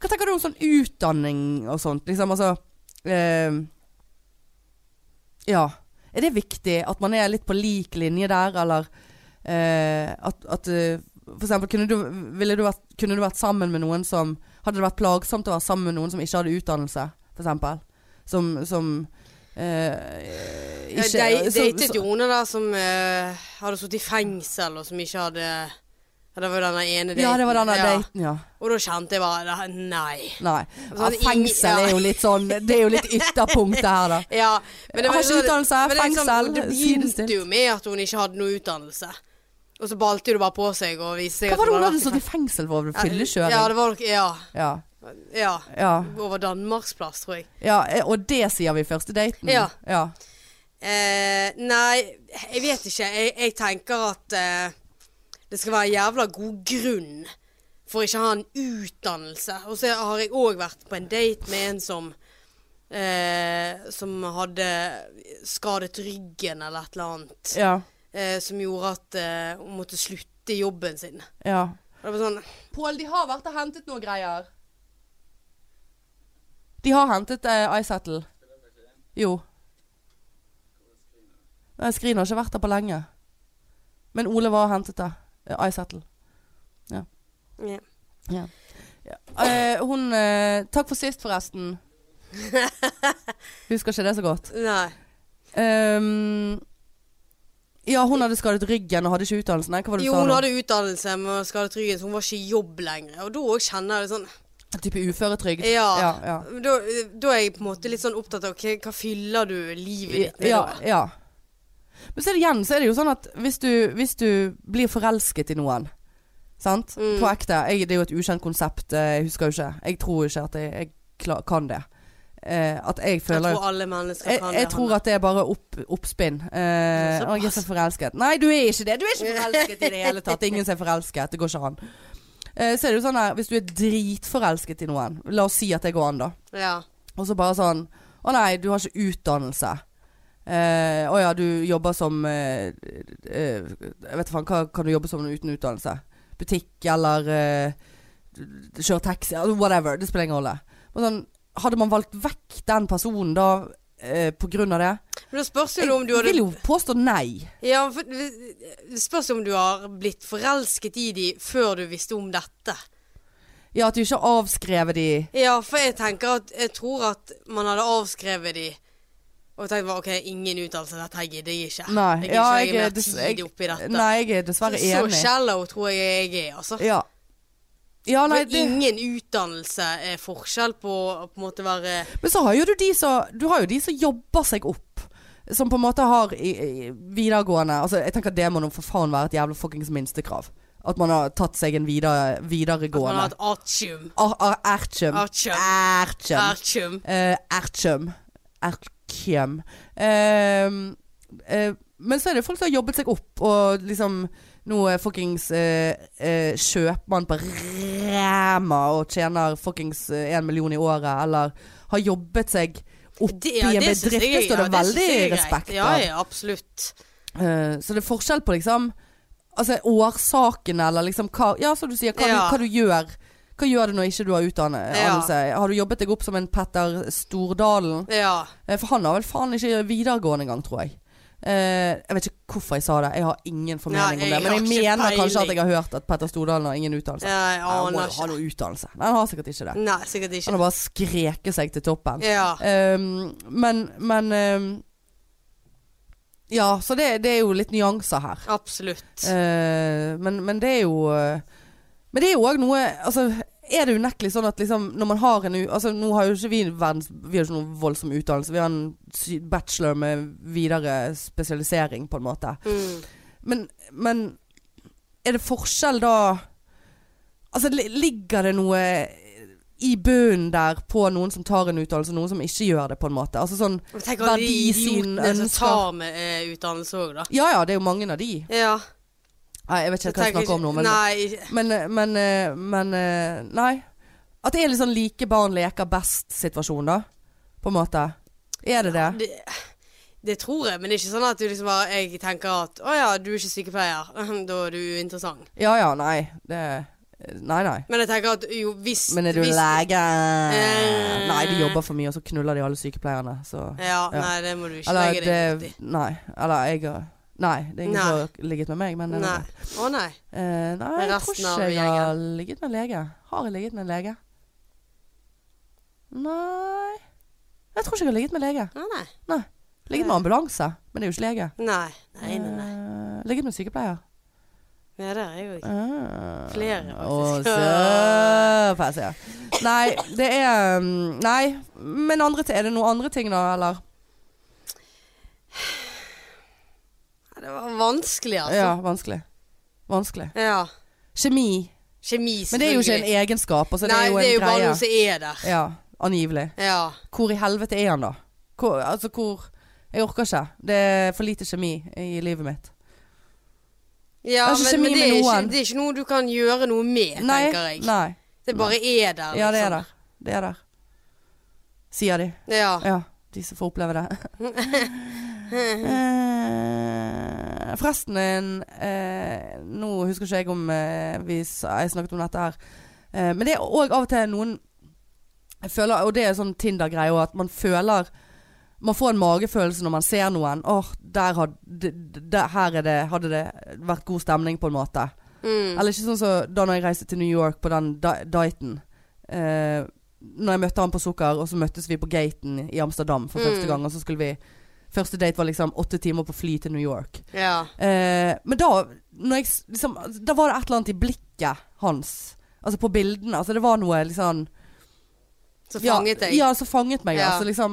Speaker 2: Hva tenker du om sånn utdanning og sånt? Liksom, altså ehm, Ja. Er det viktig at man er litt på lik linje der, eller eh, at, at eh, For eksempel, kunne du, ville du vært, kunne du vært sammen med noen som Hadde det vært plagsomt å være sammen med noen som ikke hadde utdannelse, for eksempel? Som, som eh,
Speaker 1: Jeg
Speaker 2: ikke
Speaker 1: dei-
Speaker 2: så-
Speaker 1: datet Jone der som eh, hadde sittet i fengsel, og som ikke hadde ja, Det var jo den ene daten.
Speaker 2: Ja, det var den der
Speaker 1: Ja.
Speaker 2: daten, ja.
Speaker 1: Og da kjente jeg bare Nei.
Speaker 2: Nei. Ja,
Speaker 1: Sånn ing-
Speaker 2: fengsel
Speaker 1: ja.
Speaker 2: er jo litt sånn Det er jo litt ytterpunktet her, da.
Speaker 1: Ja,
Speaker 2: Har
Speaker 1: jo
Speaker 2: ikke
Speaker 1: sånn-
Speaker 2: utdannelse,
Speaker 1: men det er liksom-
Speaker 2: fengsel,
Speaker 1: Det
Speaker 2: sidestilt.
Speaker 1: begynte jo med at hun ikke hadde noe utdannelse. Og så balte jo det bare på seg. Og viste seg
Speaker 2: Hva
Speaker 1: at
Speaker 2: var det hun
Speaker 1: hadde
Speaker 2: hadde
Speaker 1: vært
Speaker 2: stått i fengsel for?
Speaker 1: fe-
Speaker 2: Fyllekjøring?
Speaker 1: Ja, det var nok Ja.
Speaker 2: Ja.
Speaker 1: ja.
Speaker 2: ja.
Speaker 1: Over Danmarksplass, tror jeg.
Speaker 2: Ja, og det sier vi i første daten?
Speaker 1: Ja.
Speaker 2: ja.
Speaker 1: Eh, nei, jeg vet ikke. Jeg, jeg tenker at eh, det skal være en jævla god grunn for ikke å ha en utdannelse. Og så har jeg òg vært på en date med en som eh, som hadde skadet ryggen eller et eller annet.
Speaker 2: Ja.
Speaker 1: Eh, som gjorde at eh, hun måtte slutte i jobben sin. Og
Speaker 2: ja.
Speaker 1: det var sånn
Speaker 2: Pål, de har vært og hentet noe greier. De har hentet uh, iSettle. Jo. Nei, Skrin har ikke vært der på lenge. Men Ole var og hentet det. Uh, iSettle.
Speaker 1: ja.
Speaker 2: Eh, hun eh, Takk for sist, forresten. Husker ikke det så godt.
Speaker 1: Nei.
Speaker 2: Ehm, ja, hun hadde skadet ryggen og hadde ikke utdannelse. Nei, hva var det du
Speaker 1: Jo,
Speaker 2: sa?
Speaker 1: hun
Speaker 2: nå?
Speaker 1: hadde utdannelse, men skadet ryggen, så hun var ikke i jobb lenger. Og da òg kjenner jeg det sånn
Speaker 2: Type uføretrygd.
Speaker 1: Ja.
Speaker 2: Ja, ja.
Speaker 1: Da, da er jeg på en måte litt sånn opptatt av hva- hva fyller du livet ditt med
Speaker 2: ja,
Speaker 1: da?
Speaker 2: ja. Men så er det igjen så er det jo sånn at hvis du, hvis du blir forelsket i noen Sant?
Speaker 1: Mm.
Speaker 2: På ekte. Jeg, det er jo et ukjent konsept. eh, Jeg husker jo ikke. Jeg tror ikke at jeg, jeg kla- kan det. Eh, at jeg
Speaker 1: Jeg
Speaker 2: føler
Speaker 1: tror alle mennesker
Speaker 2: jeg,
Speaker 1: kan
Speaker 2: jeg tror
Speaker 1: Hanne.
Speaker 2: at det er bare opp, oppspinn. Eh,
Speaker 1: Såpass.
Speaker 2: å, jeg er så forelsket. Nei, du er ikke det. Du er ikke forelsket i det hele tatt. Ingen som er forelsket. Det går ikke an. Eh, så er det jo sånn her, hvis du er dritforelsket i noen, la oss si at det går an, da.
Speaker 1: Ja.
Speaker 2: Og så bare sånn Å nei, du har ikke utdannelse. Eh, å ja, du jobber som eh, eh, Jeg vet faen, hva kan du jobbe som uten utdannelse? Butikk eller eh, altså kjøre taxi? eller Whatever. Det spiller ingen rolle. Men sånn, hadde man valgt vekk den personen da eh, på grunn av det?
Speaker 1: Men da spørs jo det om du
Speaker 2: Jeg
Speaker 1: hadde
Speaker 2: vil jo påstå nei.
Speaker 1: Ja, for, det spørs om du har blitt forelsket i de før du visste om dette.
Speaker 2: Ja, at du ikke har avskrevet de
Speaker 1: Ja, for jeg tenker at Jeg tror at man hadde avskrevet de og tenkt bare, OK, ingen uttalelse, dette her gidder jeg ikke.
Speaker 2: Nei.
Speaker 1: jeg gidder
Speaker 2: ja,
Speaker 1: ikke legge mer
Speaker 2: dess-
Speaker 1: tid oppi dette.
Speaker 2: Nei, jeg er dessverre
Speaker 1: så
Speaker 2: enig.
Speaker 1: shallow tror jeg jeg er, altså.
Speaker 2: Ja. Ja, nei,
Speaker 1: For
Speaker 2: det,
Speaker 1: ingen utdannelse er forskjell på å på en måte være
Speaker 2: men så har jo du de som Du har jo de som jobber seg opp. Som på en måte har i, i videregående Altså, jeg tenker det må nå for faen være et jævla fuckings minstekrav. At man har tatt seg en videre,
Speaker 1: at man har
Speaker 2: videregående Ah,
Speaker 1: et artium.
Speaker 2: Ar- ar- Ertjum.
Speaker 1: Artium.
Speaker 2: Ertjum.
Speaker 1: Artium.
Speaker 2: Eh, Ertjum. Ertjum. Ehm, eh, men så er det folk som har jobbet seg opp, og liksom nå er fuckings eh, eh, kjøpmann på Ræma og tjener fuckings én million i året, eller har jobbet seg opp
Speaker 1: Det-
Speaker 2: i
Speaker 1: ja,
Speaker 2: en
Speaker 1: det synes
Speaker 2: bedrift. Det
Speaker 1: jeg-
Speaker 2: står det
Speaker 1: ja, synes
Speaker 2: veldig
Speaker 1: jeg er greit.
Speaker 2: respekt av.
Speaker 1: Ja, ja, absolutt.
Speaker 2: Eh, så det er forskjell på liksom Altså årsakene, eller liksom hva Ja, som du sier, hva,
Speaker 1: Ja.
Speaker 2: du, hva du gjør. Hva gjør du når ikke du har utdannelse? Har du jobbet deg opp som en Petter Stordalen?
Speaker 1: Ja.
Speaker 2: Eh, For han har vel faen ikke videregående engang, tror jeg. Eh, jeg vet ikke hvorfor jeg sa det, jeg har ingen formening
Speaker 1: Nei, jeg
Speaker 2: om det.
Speaker 1: har
Speaker 2: Men
Speaker 1: ikke
Speaker 2: jeg mener kanskje at
Speaker 1: peiling.
Speaker 2: jeg har hørt at Petter Stordalen har ingen utdannelse.
Speaker 1: ja jeg
Speaker 2: han Altså, må
Speaker 1: aner
Speaker 2: jo ha
Speaker 1: ikke.
Speaker 2: noe utdannelse. Nei, han har sikkert ikke det.
Speaker 1: Nei, sikkert
Speaker 2: Han
Speaker 1: ikke.
Speaker 2: har bare skreket seg til toppen.
Speaker 1: Ja.
Speaker 2: Ehm, men men ehm, Ja, så det, det er jo litt nyanser her.
Speaker 1: Absolutt.
Speaker 2: Eh, men, men det er jo eh, Men det er jo òg noe Altså, er det unektelig sånn at liksom når man har en u- Altså, nå har jo ikke vi verdens Vi har ikke noen voldsom utdannelse. Vi har en sy- bachelor med videre spesialisering, på en måte.
Speaker 1: Mm.
Speaker 2: Men, men er det forskjell da Altså, li- ligger det noe i bunnen der på noen som tar en utdannelse, og noen som ikke gjør det, på en måte? Altså sånn
Speaker 1: Men Tenk alle de
Speaker 2: verdisyn,
Speaker 1: idiotene som
Speaker 2: ønsker.
Speaker 1: tar med eh, utdannelse òg, da.
Speaker 2: Ja ja, det er jo mange av de.
Speaker 1: Ja.
Speaker 2: Nei, jeg vet ikke hva jeg snakker om nå, men
Speaker 1: Nei,
Speaker 2: Men, men, eh, men eh, Nei. At det er litt sånn like barn leker best-situasjon, da. På en måte. Er det det?
Speaker 1: det, det tror jeg, men det er ikke sånn at du liksom bare Jeg tenker at å ja, du er ikke sykepleier, da er du uinteressant.
Speaker 2: Ja ja, nei. Det eh, Nei, nei.
Speaker 1: Men jeg tenker at jo, hvis
Speaker 2: Men er du
Speaker 1: hvis,
Speaker 2: lege?
Speaker 1: Eh.
Speaker 2: Nei, de jobber for mye, og så knuller de alle sykepleierne, så
Speaker 1: Ja,
Speaker 2: Ja.
Speaker 1: nei, det må du ikke
Speaker 2: Eller
Speaker 1: legge deg
Speaker 2: det
Speaker 1: borti.
Speaker 2: Nei. Eller jeg har Nei, det er ingen
Speaker 1: Nei.
Speaker 2: som har ligget med meg, men jeg
Speaker 1: Nei.
Speaker 2: vet
Speaker 1: Å nei.
Speaker 2: det. Eh, nei,
Speaker 1: Men
Speaker 2: jeg tror
Speaker 1: resten av
Speaker 2: ikke jeg har ligget med en lege. Har jeg ligget med en lege? Nei Jeg tror ikke jeg har ligget med en lege.
Speaker 1: Å nei.
Speaker 2: Ligget med ambulanse, men det er jo ikke lege.
Speaker 1: Nei, nei, nei. nei.
Speaker 2: Eh, ligget med sykepleier.
Speaker 1: Ja, der er jeg jo ikke.
Speaker 2: Ah.
Speaker 1: Flere, faktisk.
Speaker 2: Å, søpass, ja. Nei, det er mm, Nei, men andre, ti- er det noen andre ting da, eller?
Speaker 1: Nei, Det var vanskelig, altså.
Speaker 2: Ja, vanskelig. Vanskelig.
Speaker 1: Ja.
Speaker 2: Kjemi.
Speaker 1: Kjemi, selvfølgelig.
Speaker 2: Men det er jo ikke en egenskap, altså,
Speaker 1: Nei,
Speaker 2: det er jo en
Speaker 1: bare
Speaker 2: greie.
Speaker 1: noe som er der.
Speaker 2: Ja, angivelig.
Speaker 1: Ja.
Speaker 2: Hvor i helvete er han da? Hvor, altså, hvor Jeg orker ikke. Det er for lite kjemi i livet mitt.
Speaker 1: Ja,
Speaker 2: Det er ikke
Speaker 1: men, men det,
Speaker 2: kjemi
Speaker 1: er
Speaker 2: med
Speaker 1: ikke,
Speaker 2: noen.
Speaker 1: det er ikke noe du kan gjøre noe med,
Speaker 2: Nei,
Speaker 1: tenker jeg.
Speaker 2: nei.
Speaker 1: Det bare er der.
Speaker 2: Ja, det er
Speaker 1: liksom.
Speaker 2: der. Det er der. Sier de.
Speaker 1: Ja.
Speaker 2: Ja, de som får oppleve det. Eh, Forresten, en, eh, nå husker ikke jeg om eh, vi, s- jeg snakket om dette her, eh, men det er òg av og til noen jeg føler, Og det er sånn Tinder-greie òg, at man føler Man får en magefølelse når man ser noen. Åh, der had, d- d- der, her er det, hadde det vært god stemning, på en måte.
Speaker 1: Mm.
Speaker 2: Eller ikke sånn som da når jeg reiste til New York på den da- daten. Eh, når jeg møtte han på Sukker, og så møttes vi på gaten i Amsterdam for
Speaker 1: Mm.
Speaker 2: første gang. Og så skulle vi Første date var liksom åtte timer på fly til New York.
Speaker 1: Ja.
Speaker 2: Eh, men da når jeg, s- liksom, Da var det et eller annet i blikket hans. Altså på bildene. Altså det var noe liksom
Speaker 1: Så fanget
Speaker 2: ja,
Speaker 1: jeg.
Speaker 2: Ja, så fanget meg.
Speaker 1: Ja.
Speaker 2: Altså liksom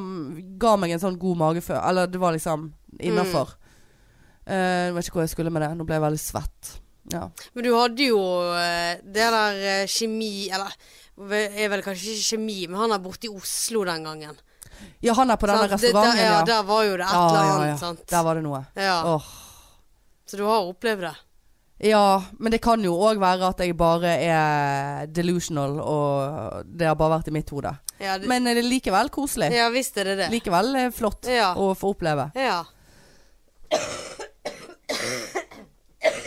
Speaker 2: ga meg en sånn god magefølelse. Eller det var liksom innafor.
Speaker 1: Mm.
Speaker 2: Eh, jeg vet ikke hvor jeg skulle med det. Nå ble jeg veldig svett. Ja.
Speaker 1: Men du hadde jo eh, det der eh, kjemi Eller ve- er vel kanskje ikke kjemi, men han er borte i Oslo den gangen.
Speaker 2: Ja, han er på denne
Speaker 1: Sant? Det-
Speaker 2: restauranten,
Speaker 1: der, ja,
Speaker 2: ja.
Speaker 1: Der var jo det et
Speaker 2: Ja,
Speaker 1: eller
Speaker 2: ja,
Speaker 1: annet,
Speaker 2: ja.
Speaker 1: sant.
Speaker 2: Der var det noe.
Speaker 1: Ja.
Speaker 2: Åh.
Speaker 1: Så du har opplevd det.
Speaker 2: Ja, men det kan jo òg være at jeg bare er delusional, og det har bare vært i mitt hode.
Speaker 1: Ja, det,
Speaker 2: Men eh, det er likevel koselig.
Speaker 1: ja visst er det det.
Speaker 2: Likevel eh, flott
Speaker 1: Ja.
Speaker 2: å få oppleve.
Speaker 1: Ja.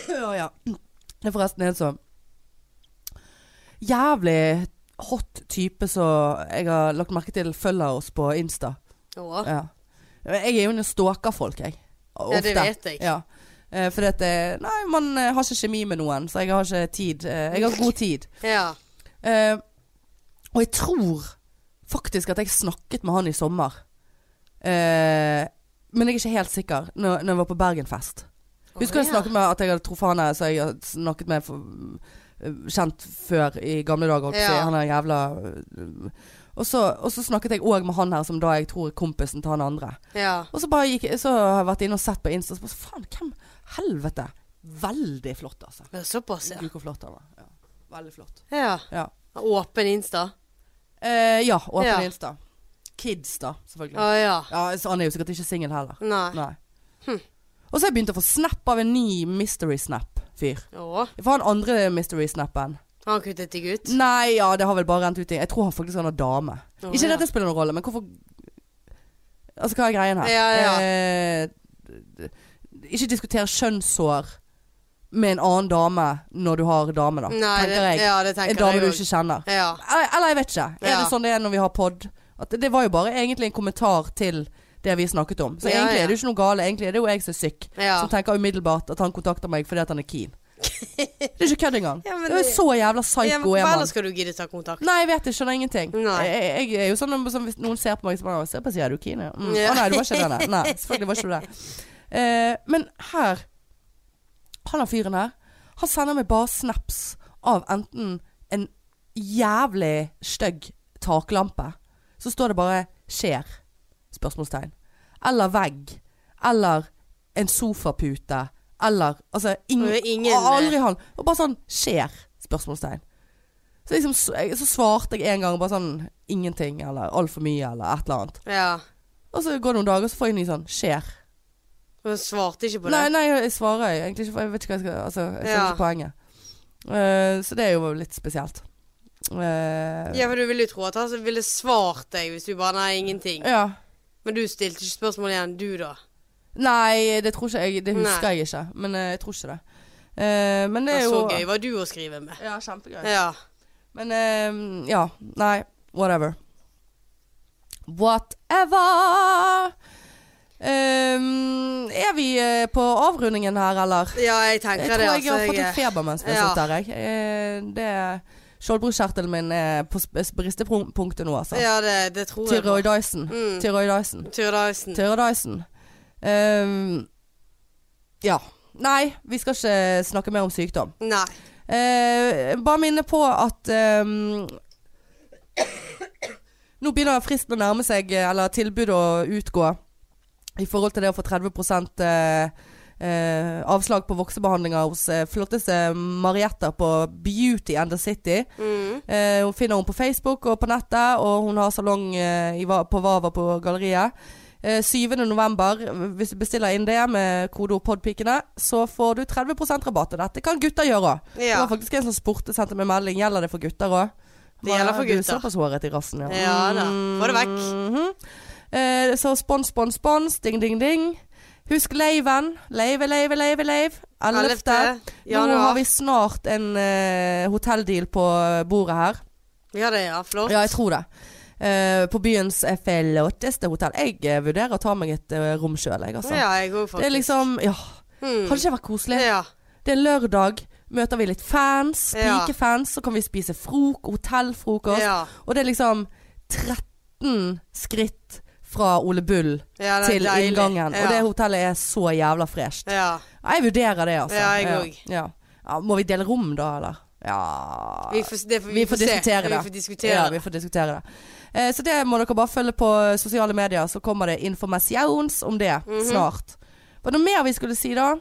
Speaker 2: Ja, ja. Det er forresten en sånn jævlig hot type som jeg har lagt merke til følger oss på Insta.
Speaker 1: Å.
Speaker 2: Ja. Jeg er jo en stalker-folk, jeg.
Speaker 1: Ja, det vet jeg.
Speaker 2: Ja. Eh, fordi at eh, Nei, man eh, har ikke kjemi med noen, så jeg har ikke tid. Eh, jeg har god tid.
Speaker 1: Ja.
Speaker 2: Eh, og jeg tror faktisk at jeg snakket med han i sommer. Eh, men jeg er ikke helt sikker. Når, når jeg var på Bergenfest. Husker
Speaker 1: Å,
Speaker 2: jeg
Speaker 1: ja.
Speaker 2: snakket med at jeg hadde truffet han her, så jeg hadde snakket med for, eh, kjent før i gamle dager. holdt jeg på å si.
Speaker 1: Ja.
Speaker 2: Han er jævla eh, og så, og så snakket jeg òg med han her, som da jeg tror er kompisen til han andre.
Speaker 1: Ja.
Speaker 2: Og så, bare gikk, så har jeg vært inne og sett på Insta, og så bare faen, hvem Helvete. Veldig flott, altså.
Speaker 1: Ja, Såpass, ja.
Speaker 2: Gud, hvor flott han var. Ja. Veldig flott.
Speaker 1: ja.
Speaker 2: Ja.
Speaker 1: Åpen Insta.
Speaker 2: Eh, ja, og
Speaker 1: Ja.
Speaker 2: Apen Insta. Kids, da, selvfølgelig.
Speaker 1: Å ja.
Speaker 2: Ja, så han er jo sikkert ikke singel heller.
Speaker 1: Nei. Hm.
Speaker 2: Nei. Og så har jeg begynt å få snap av en ny Mystery Snap-fyr.
Speaker 1: Å.
Speaker 2: For han andre Mystery Snappen
Speaker 1: Har han kuttet deg ut?
Speaker 2: Nei, ja, det har vel bare rent ut i Jeg tror han faktisk han har dame.
Speaker 1: Å,
Speaker 2: ikke
Speaker 1: ja.
Speaker 2: dette spiller noen rolle, men hvorfor Altså, hva er greien her?
Speaker 1: Ja, ja.
Speaker 2: Eh, ikke diskutere kjønnshår med en annen dame når du har dame, da.
Speaker 1: Nei, det,
Speaker 2: tenker jeg.
Speaker 1: ja, det tenker
Speaker 2: en dame
Speaker 1: jeg
Speaker 2: du
Speaker 1: også.
Speaker 2: ikke kjenner.
Speaker 1: Ja.
Speaker 2: Eller, eller jeg vet ikke. Er
Speaker 1: Ja.
Speaker 2: det sånn det er når vi har pod? At det, det var jo bare egentlig en kommentar til det vi snakket om. Så
Speaker 1: Ja, ja.
Speaker 2: egentlig er det jo ikke noe gale. Egentlig er det jo jeg som er syk.
Speaker 1: Ja.
Speaker 2: Som tenker umiddelbart at han kontakter meg fordi at han er keen. det er ikke kødd engang.
Speaker 1: Ja, men
Speaker 2: det er jo
Speaker 1: det-
Speaker 2: så jævla psycho
Speaker 1: ja, men hvorfor
Speaker 2: er man.
Speaker 1: ellers skal du gidde ta kontakt?
Speaker 2: Nei, jeg vet, jeg skjønner ingenting.
Speaker 1: Nei.
Speaker 2: Jeg, jeg, jeg er jo sånn om- som hvis noen ser på meg så bare Se på sida, er du keen? ja? Mm.
Speaker 1: Ja.
Speaker 2: Å nei, du var ikke denne. Nei, selvfølgelig var ikke du det. Eh, men her Han der fyren her, han sender meg bare snaps av enten en jævlig stygg taklampe, så står det bare 'skjer'? Spørsmålstegn. Eller vegg. Eller en sofapute. Eller Altså,
Speaker 1: Og det
Speaker 2: ingen,
Speaker 1: er ingen- eh.
Speaker 2: Aldri han. Og bare sånn 'skjer?' Spørsmålstegn. Så, liksom, så, jeg- så svarte jeg en gang bare sånn ingenting, eller altfor mye, eller et eller annet.
Speaker 1: Ja.
Speaker 2: Og så går det noen dager, så får jeg en ny sånn 'skjer'.
Speaker 1: Og hun svarte ikke på det?
Speaker 2: Nei, nei, jeg svarer jo egentlig ikke, for jeg vet ikke hva jeg skal Altså, jeg skjønner
Speaker 1: Ja.
Speaker 2: ikke poenget. Eh, så det er jo litt spesielt. Eh,
Speaker 1: Ja, for du ville jo tro at han ville svart deg hvis du bare Nei, ingenting.
Speaker 2: ja.
Speaker 1: Men du stilte ikke spørsmål igjen, du da?
Speaker 2: Nei, det tror ikke jeg. Det husker
Speaker 1: Nei.
Speaker 2: jeg ikke. Men eh, jeg tror ikke det. Eh, men det
Speaker 1: Ja,
Speaker 2: er jo
Speaker 1: så gøy var du å skrive med.
Speaker 2: Ja, kjempegøy.
Speaker 1: Ja.
Speaker 2: Men eh, ja. Nei, whatever. Whatever! Ehm, er vi eh, på avrundingen her, eller?
Speaker 1: ja, jeg
Speaker 2: Jeg
Speaker 1: tenker
Speaker 2: tror
Speaker 1: det. altså,
Speaker 2: jeg har fått
Speaker 1: jeg-
Speaker 2: litt feber mens vi har
Speaker 1: Ja.
Speaker 2: sittet her, jeg. Eh, det Skjoldbruskkjertelen min er på sp- bristepunktet nå, altså.
Speaker 1: Ja, det, det tror jeg. på.
Speaker 2: Tyroidisen.
Speaker 1: Mm.
Speaker 2: Tyroidisen.
Speaker 1: Tyroidisen.
Speaker 2: Tøredaisen. Ehm, ja. Nei, vi skal ikke snakke mer om sykdom.
Speaker 1: Nei.
Speaker 2: Eh, bare minne på at ehm, Nå begynner fristen å nærme seg, eh, eller tilbudet å utgå. I forhold til det å få 30 eh, eh, avslag på voksebehandlinger hos eh, flotteste Marietta på Beauty and the City.
Speaker 1: Mm.
Speaker 2: Eh, hun finner hun på Facebook og på nettet, og hun har salong eh, i, Va- på Vava på galleriet. Eh, 7. november, hvis du bestiller inn det med kodeord 'podpikene', så får du 30 rabatt. Og dette kan gutter gjøre òg. Det
Speaker 1: Ja.
Speaker 2: var faktisk en som spurte, sendte meg melding. Gjelder det for gutter òg?
Speaker 1: Det gjelder for
Speaker 2: Du er
Speaker 1: gutter.
Speaker 2: såpass håret i rassen, ja.
Speaker 1: Ja da. Få det vekk.
Speaker 2: Mhm. eh, så spons, spons, spons. Ding, ding, ding. Husk leiven. Leive, leive, leive, leive. 11. Mm. Nå har
Speaker 1: januar.
Speaker 2: vi snart en eh, hotelldeal på bordet her.
Speaker 1: Ja, det ja, flott.
Speaker 2: Ja, jeg tror det. Eh, på byens eh, flotteste hotell. Jeg eh, vurderer å ta meg et eh, rom sjøl, jeg, altså.
Speaker 1: Ja, jeg òg, faktisk.
Speaker 2: det er liksom Ja,
Speaker 1: mm.
Speaker 2: hadde ikke det vært koselig?
Speaker 1: Ja.
Speaker 2: Det er lørdag, møter vi litt fans,
Speaker 1: Ja.
Speaker 2: pikefans, så kan vi spise frok, hotellfrokost.
Speaker 1: Ja.
Speaker 2: Og det er liksom 13 skritt fra Ole Bull
Speaker 1: ja, det er
Speaker 2: til
Speaker 1: deilig.
Speaker 2: inngangen.
Speaker 1: Ja.
Speaker 2: Og det hotellet er så jævla fresht.
Speaker 1: Ja.
Speaker 2: Jeg vurderer det, altså.
Speaker 1: Ja, jeg òg.
Speaker 2: Ja. Ja, må vi dele rom da, eller? Ja
Speaker 1: Vi får, det, får-
Speaker 2: vi får
Speaker 1: se.
Speaker 2: diskutere det.
Speaker 1: Vi får diskutere
Speaker 2: ja,
Speaker 1: det.
Speaker 2: vi får diskutere det. Eh, så det må dere bare følge på sosiale medier, så kommer det informasjons om det
Speaker 1: Mhm.
Speaker 2: snart. Var det noe mer vi skulle si da?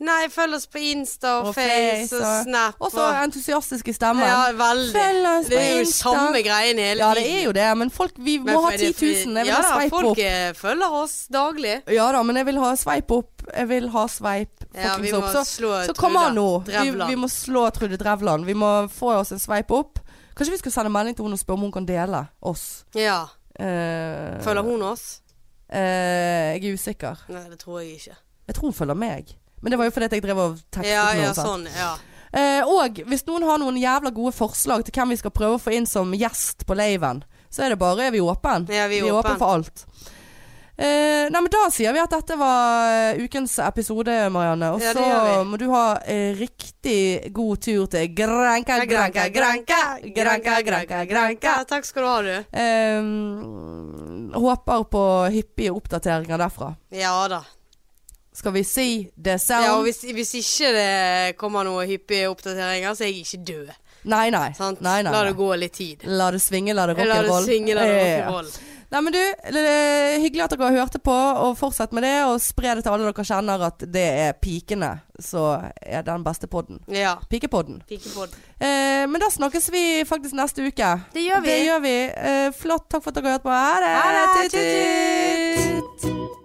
Speaker 1: Nei, følg oss på Insta og,
Speaker 2: Og
Speaker 1: Face
Speaker 2: Face
Speaker 1: og
Speaker 2: og-
Speaker 1: Snap.
Speaker 2: Og så entusiastiske stemmer.
Speaker 1: Ja, veldig.
Speaker 2: Følg oss
Speaker 1: det
Speaker 2: på
Speaker 1: er jo
Speaker 2: Insta.
Speaker 1: samme greien hele
Speaker 2: Ja, det er jo det, men folk Vi må ha 10 000. Jeg vil
Speaker 1: ja,
Speaker 2: ha sveip
Speaker 1: folk
Speaker 2: opp.
Speaker 1: eh, følger oss daglig.
Speaker 2: Ja da, men jeg vil ha sveip opp. Jeg vil ha sveip
Speaker 1: Ja, vi
Speaker 2: fuckings
Speaker 1: må
Speaker 2: opp. Så,
Speaker 1: slå
Speaker 2: så kom an nå. Vi,
Speaker 1: Drevland.
Speaker 2: vi må slå Trude Drevland. Vi må få oss en sveip opp. Kanskje vi skal sende melding til henne og spørre om hun kan dele oss.
Speaker 1: Ja.
Speaker 2: Eh,
Speaker 1: Følger hun oss?
Speaker 2: Eh, jeg er usikker.
Speaker 1: Nei, det tror jeg ikke.
Speaker 2: Jeg tror hun følger meg. Men det var jo fordi at jeg drev og tekstet
Speaker 1: Ja,
Speaker 2: noe.
Speaker 1: ja,
Speaker 2: sant?
Speaker 1: sånn. Ja.
Speaker 2: Eh, og hvis noen har noen jævla gode forslag til hvem vi skal prøve å få inn som gjest på laven, så er det bare er vi åpen.
Speaker 1: Ja, vi er
Speaker 2: åpen
Speaker 1: åpen.
Speaker 2: for alt. Eh, nei, men da sier vi at dette var eh, ukens episode, Marianne. Og
Speaker 1: Ja, det
Speaker 2: så
Speaker 1: gjør vi.
Speaker 2: må du ha eh, riktig god tur til Granka, Granka, Granka. Granka, Granka, Granka.
Speaker 1: Ja, takk skal du ha, du.
Speaker 2: Eh, Ehm, håper på hyppige oppdateringer derfra.
Speaker 1: Ja da.
Speaker 2: Skal vi si det selv?
Speaker 1: Ja, og hvis, hvis ikke det kommer noen hyppige oppdateringer, så er jeg ikke død.
Speaker 2: Nei, nei.
Speaker 1: Sant?
Speaker 2: nei, nei,
Speaker 1: La
Speaker 2: nei.
Speaker 1: det gå litt tid.
Speaker 2: La det svinge, la det
Speaker 1: La det
Speaker 2: rock'n'roll.
Speaker 1: svinge, la det
Speaker 2: Ja, ja, ja.
Speaker 1: rock'n'roll.
Speaker 2: Nei, men du, eh, hyggelig at dere hørte på, og fortsett med det. Og spre det til alle dere kjenner at det er pikene som er den beste podden.
Speaker 1: Ja.
Speaker 2: Pikepodden.
Speaker 1: Pikepodden.
Speaker 2: Eh, men da snakkes vi faktisk neste uke.
Speaker 1: Det gjør vi.
Speaker 2: Det gjør vi. Eh, flott. Takk for at dere har hørt på. Ha det.
Speaker 1: Ha det.
Speaker 2: Tut, tut.